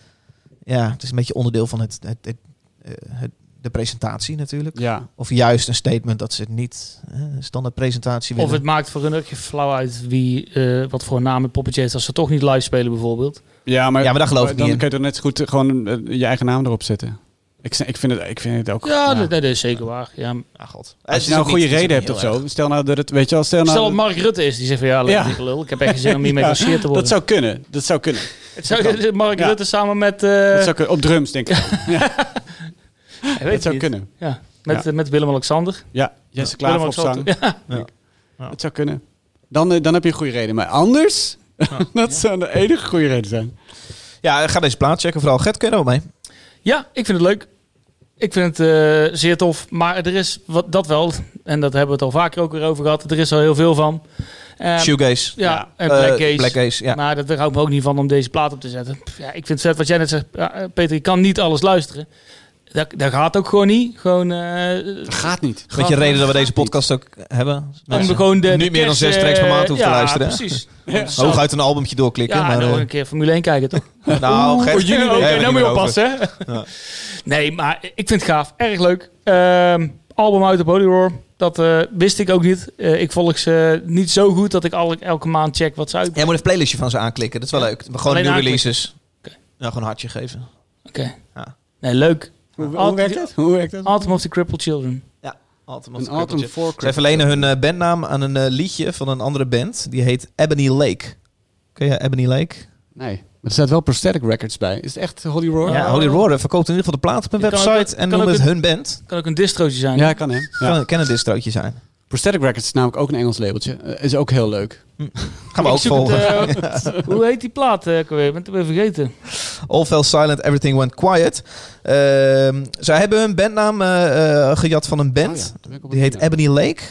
E: ja, het is een beetje onderdeel van het, het, het, eh, het- de presentatie natuurlijk.
A: Ja.
E: Of juist een statement dat ze het niet eh, standaard presentatie willen.
C: Of het maakt voor hun ook geen flauw uit wie, eh, wat voor naam het poppetje heeft als ze toch niet live spelen bijvoorbeeld.
A: Ja, maar,
E: Ja, maar daar geloof ik
A: dan
E: niet in.
A: kun je er net zo goed eh, gewoon eh, je eigen naam erop zetten. Ik, ik, vind, het, ik vind het ook...
C: Ja, Dat, dat is zeker waar. Ja.
E: Ah, god. Het
A: Als
E: is
A: je nou
E: ook
A: een goede
E: niet- het is
A: reden hebt
E: ook niet
A: of zo.
E: heel
A: Stel nou dat het, weet je wel, stel nou...
C: Stel dat Mark Rutte is, die zegt van ja, leuk,
A: Ja.
C: dikke lul. Ik heb echt geen zin om hiermee geassocieerd te
A: dat
C: worden.
A: zou kunnen. Dat zou kunnen.
C: Het zou, Mark
A: Ja.
C: Rutte samen met... eh,
A: Dat zou kunnen. Op drums, denk ik.
C: ik weet
A: Dat
C: het
A: zou
C: niet.
A: kunnen.
C: Ja, met,
A: Ja.
C: eh, met Willem-Alexander.
A: Ja, Jesse Klaver op
C: Willem-Alexander.
A: zang. Het zou kunnen. Dan, eh, dan heb je een goede reden. Maar anders, dat zou de enige goede reden zijn.
E: erg. Ja, ga deze plaat checken. Vooral Gert, kun je er wel mee?
C: Ja, ik vind het leuk. Ik vind het eh, zeer tof. Maar er is wat, dat wel, en dat hebben we het al vaker ook weer over gehad. Er is al heel veel van. Ehm,
E: Shoegaze.
C: ja,
A: Ja.
C: en Black Nou,
E: Eh,
C: Gaze.
E: Black Gaze, ja.
C: Maar dat weerhoudt me ook niet van om deze plaat op te zetten. Pff, Ja, ik vind het vet wat jij net zegt. Ja, eh, Peter, je kan niet alles luisteren. Dat, dat gaat ook gewoon niet. Gewoon, eh,
A: Dat gaat niet.
E: Met je
C: Gaat-
E: reden dat we deze podcast ook hebben.
C: om
E: Mensen
C: gewoon de,
E: nu
C: de
E: meer dan
C: kerst,
E: zes
C: eh,
E: tracks per maand hoeven te
C: ja,
E: luisteren. hè?
C: precies. Zo-
E: Hooguit een albumtje doorklikken.
C: Ja,
E: maar,
C: en dan
E: eh,
C: een keer Formule 1 kijken, toch?
E: nou, Gert,
C: Oeh,
E: daar
C: Oké, nou
E: hebben we het
C: moet
E: niet
C: je
E: meer over.
C: oppassen. hè?
E: Ja.
C: Nee, maar ik vind het gaaf. Erg leuk. Ehm, album uit op Holy Roar. Dat eh, wist ik ook niet. Eh, ik volg ze niet zo goed dat ik al, elke maand check wat ze uit.
E: Jij moet even playlistje van ze aanklikken. Dat is wel leuk. Gewoon
C: Alleen
E: nieuwe
C: aanklikken.
E: releases.
C: Oké.
E: Nou, gewoon een hartje geven.
C: Oké.
E: Ja.
C: Nee, leuk.
A: Hoe, hoe
C: Alt-
A: werkt dat? Hoe werkt dat?
C: Autumn of the Crippled Children.
E: Altijd
A: Een Autumn for
E: Zij verlenen hun eh, bandnaam aan een eh, liedje van een andere band. Die heet Ebony Lake. Ken je Ebony Lake?
A: Nee, maar er staat wel prosthetic records bij. Is het echt Holy Roar?
E: Ja, Holy Roar eh, verkoopt in ieder geval de plaat op hun
C: Het kan ook-
E: website.
C: het
E: en
C: kan
E: noemt
C: ook
E: het hun band.
C: Kan ook een distrootje zijn.
A: Ja, kan hè. Ja.
E: Kan, kan een distrootje zijn.
A: Prosthetic records is namelijk ook een Engels labeltje. Eh, is ook heel leuk.
E: Gaan we
C: Ik
E: ook
C: zoek
E: volgen.
C: het, eh, hoe heet die plaat? eh, Ik weer? ben het weer vergeten.
E: All fell silent, everything went quiet. Ehm, zij hebben hun bandnaam eh, eh, gejat van een
A: Oh ja,
E: band.
A: daar ben ik op
E: Die heet
A: het-
E: Ebony Lake.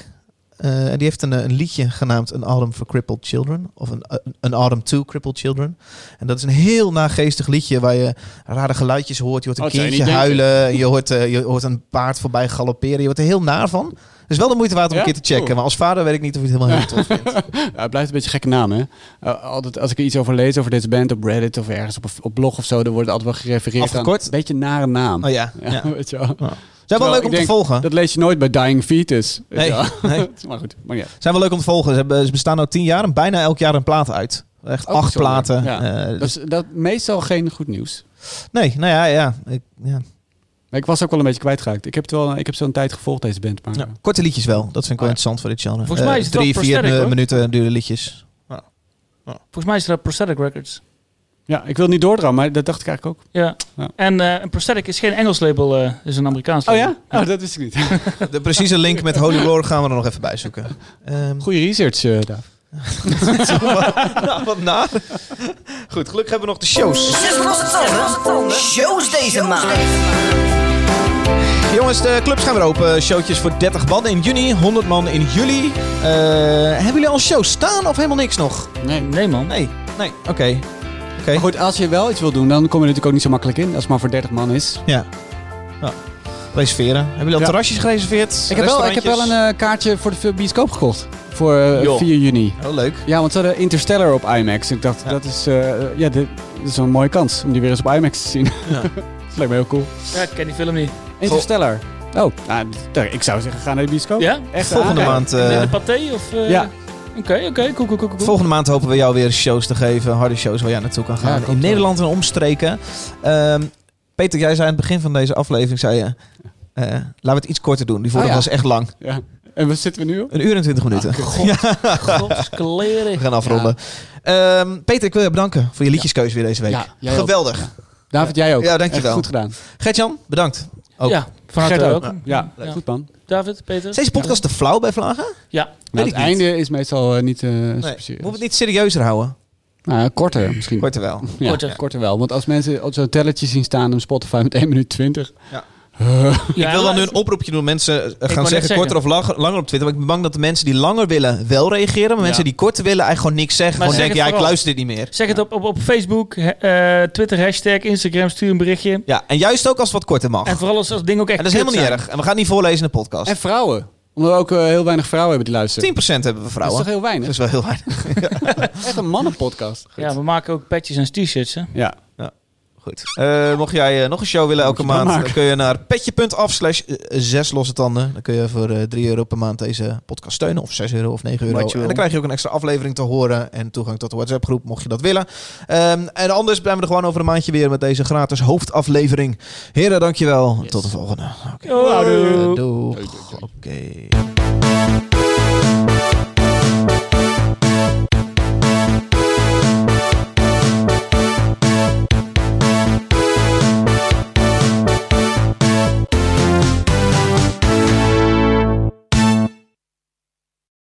E: Eh, en die heeft een, eh, een liedje genaamd An Autumn for Crippled Children. Of een, een- een Autumn to Crippled Children. En dat is een heel nageestig liedje waar je rare geluidjes hoort. Je hoort een
A: Oh, dat zou je
E: kindje
A: niet denken.
E: huilen. en Je hoort, eh, je hoort een paard voorbij galopperen. Je wordt er heel naar van. Het is wel de moeite waard om
A: Ja?
E: een keer te checken.
A: Cool.
E: Maar als vader weet ik niet of je het helemaal heel tof vindt.
A: Ja, het blijft een beetje een gekke naam, hè? Eh, altijd als ik er iets over lees over deze band op Reddit of ergens op, een- op blog of zo, dan wordt het altijd wel gerefereerd
E: Afgekort?
A: aan een beetje nare naam.
E: Oh ja. ja.
A: Ja, weet je wel.
E: Zijn wel
A: Terwijl ik
E: leuk om te
A: denk-
E: volgen.
A: Dat lees je nooit bij Dying Fetus. weet
E: Nee,
A: je wel.
E: nee.
A: maar goed, maar ja.
E: Zijn wel leuk om te volgen. Ze, hebben, ze bestaan nu tien jaar en bijna elk jaar een plaat uit. Echt
A: Ook
E: acht
A: zo leuk.
E: platen.
A: Ja.
E: Eh,
A: Dat
E: dus-
A: is dat, meestal geen goed nieuws.
E: nee, nou ja, ja. Ik, ja.
A: Maar ik was ook wel een beetje kwijtgeraakt. Ik heb, het wel, ik heb zo'n tijd gevolgd, deze band. Maar, eh,
E: Ja, Korte liedjes wel. Dat vind ik wel
A: Oh,
E: interessant voor dit genre.
C: Volgens mij
E: Eh,
C: is het
E: drie,
C: wel
E: vier
C: prosthetic,
E: eh,
C: hoor.
E: minuten duurde liedjes.
C: Volgens mij is dat Prosthetic Records.
A: ja, ik wil niet doordraaien, maar dat dacht ik eigenlijk ook.
C: Ja.
A: Ja.
C: En eh een Prosthetic is geen Engels label, eh, is een Amerikaans
A: Oh
C: label.
A: ja? Oh, dat wist ik niet.
E: De precieze link met Holy Roar gaan we er nog even bij zoeken. Ehm,
A: Goede research, eh Daaf.
E: nou, wat na. Goed, gelukkig hebben we nog de shows.
H: Zes losse tanden. Shows deze maand.
E: Jongens, de clubs gaan weer open. Showtjes voor 30 man in juni, 100 man in juli. Eh, hebben jullie al shows staan of helemaal niks nog?
A: Nee.
C: Nee man.
E: Nee, nee. Oké.
A: Maar goed, als je wel iets wil doen, dan kom je natuurlijk ook niet zo makkelijk in. Als het maar voor 30 man is.
E: Ja. ja. Reserveren. Hebben jullie al
A: Ja.
E: terrasjes gereserveerd?
A: Ik heb wel, ik heb wel een
E: Restaurantjes?
A: eh, kaartje voor de bioscoop gekocht. Voor eh,
E: Joh.
A: 4 juni.
E: Oh, leuk.
A: Ja, want ze hadden Interstellar op IMAX. Ik dacht,
E: Ja.
A: dat is, eh, ja, dit, dit is een mooie kans om die weer eens op IMAX te zien.
E: Ja.
A: dat lijkt me heel cool.
C: Ja, ik ken die film niet.
A: Interstellar. Oh, nou, d- ik zou zeggen, ga naar de bioscoop.
C: Ja?
A: Echt
E: Volgende
A: aanrader.
E: maand...
C: In
E: Oh. eh,
C: de Pathé of... eh,
A: Ja.
C: Oké, oké, cool, cool, cool, cool.
E: Volgende maand hopen we jou weer shows te geven. Harde shows waar jij naartoe kan
A: Ja,
E: gaan.
A: ik hoop
E: in
A: het
E: Nederland en omstreken. Ehm, Peter, jij zei aan het begin van deze aflevering... Zei je, eh, laten we het iets korter doen. Die vorige
A: Ah, ja. Ah,
E: was echt lang.
A: Ja. En waar zitten we nu op?
E: Een uur en twintig minuten. we
C: Godskleren.
E: gaan afronden. Ehm, Peter, ik wil je bedanken voor je liedjeskeuze weer deze week.
A: Ja, jij ook.
E: Geweldig.
A: David, jij ook.
E: Ja, dankjewel.
A: Echt goed gedaan.
E: Gert-Jan, bedankt. Ook.
C: Ja, van harte
A: Gert ook.
C: welkom.
A: Ja,
C: Ja.
A: goed man.
C: David, Peter.
E: Is deze podcast te flauw bij Vlagen?
C: Ja.
A: Nou,
E: ik
A: het
E: niet.
A: einde is meestal eh, niet eh super
E: Nee. Moeten
A: serieus.
E: we het niet serieuzer houden?
A: Nou, korter misschien.
E: Korter wel.
A: Ja,
C: Korter.
A: korter. wel. Want als mensen op zo'n telletje zien staan op Spotify met 1 minuut 20.
E: ik wil dan nu een oproepje doen. Mensen eh, gaan zeggen,
C: net zeggen.
E: korter of langer, langer op Twitter. Maar ik ben bang dat de mensen die langer willen wel reageren. Maar mensen die korter willen eigenlijk gewoon niks zeggen.
C: Maar
E: gewoon
C: zeg
E: denken,
C: het
E: ja, ik
C: vooral.
E: luister dit niet meer.
C: Zeg het op, op, op Facebook, he- eh, Twitter, hashtag, Instagram, stuur een berichtje.
E: Ja, en juist ook als het wat korter mag. En,
C: En vooral als dat ding ook echt
E: dat is
C: kut
E: helemaal niet
C: zijn.
E: erg. En we gaan niet voorlezen in de podcast.
A: En vrouwen. Omdat we ook eh, heel weinig vrouwen hebben die luisteren.
E: 10% hebben we
A: Dat is
E: vrouwen.
A: toch heel
E: Dat
A: weinig?
E: is wel heel weinig.
A: Echt een mannenpodcast.
C: Ja, we maken ook patches en t-shirts. hè.
A: Ja.
E: Goed. Eh, mocht jij eh, nog een show willen elke
A: je dan
E: maand, dan
A: maken.
E: kun je naar petje.af slash eh, zes losse tanden. Dan kun je voor eh 3 euro per maand deze podcast steunen. Of 6 euro of 9 euro.
A: Wat je
E: En
A: wil.
E: dan krijg je ook een extra aflevering te horen en toegang tot de WhatsApp groep, mocht je dat willen. Ehm, en anders blijven we er gewoon over een maandje weer met deze gratis hoofdaflevering. Heren, dankjewel. Tot de volgende.
C: Houdoe.
E: Doeg. Oké.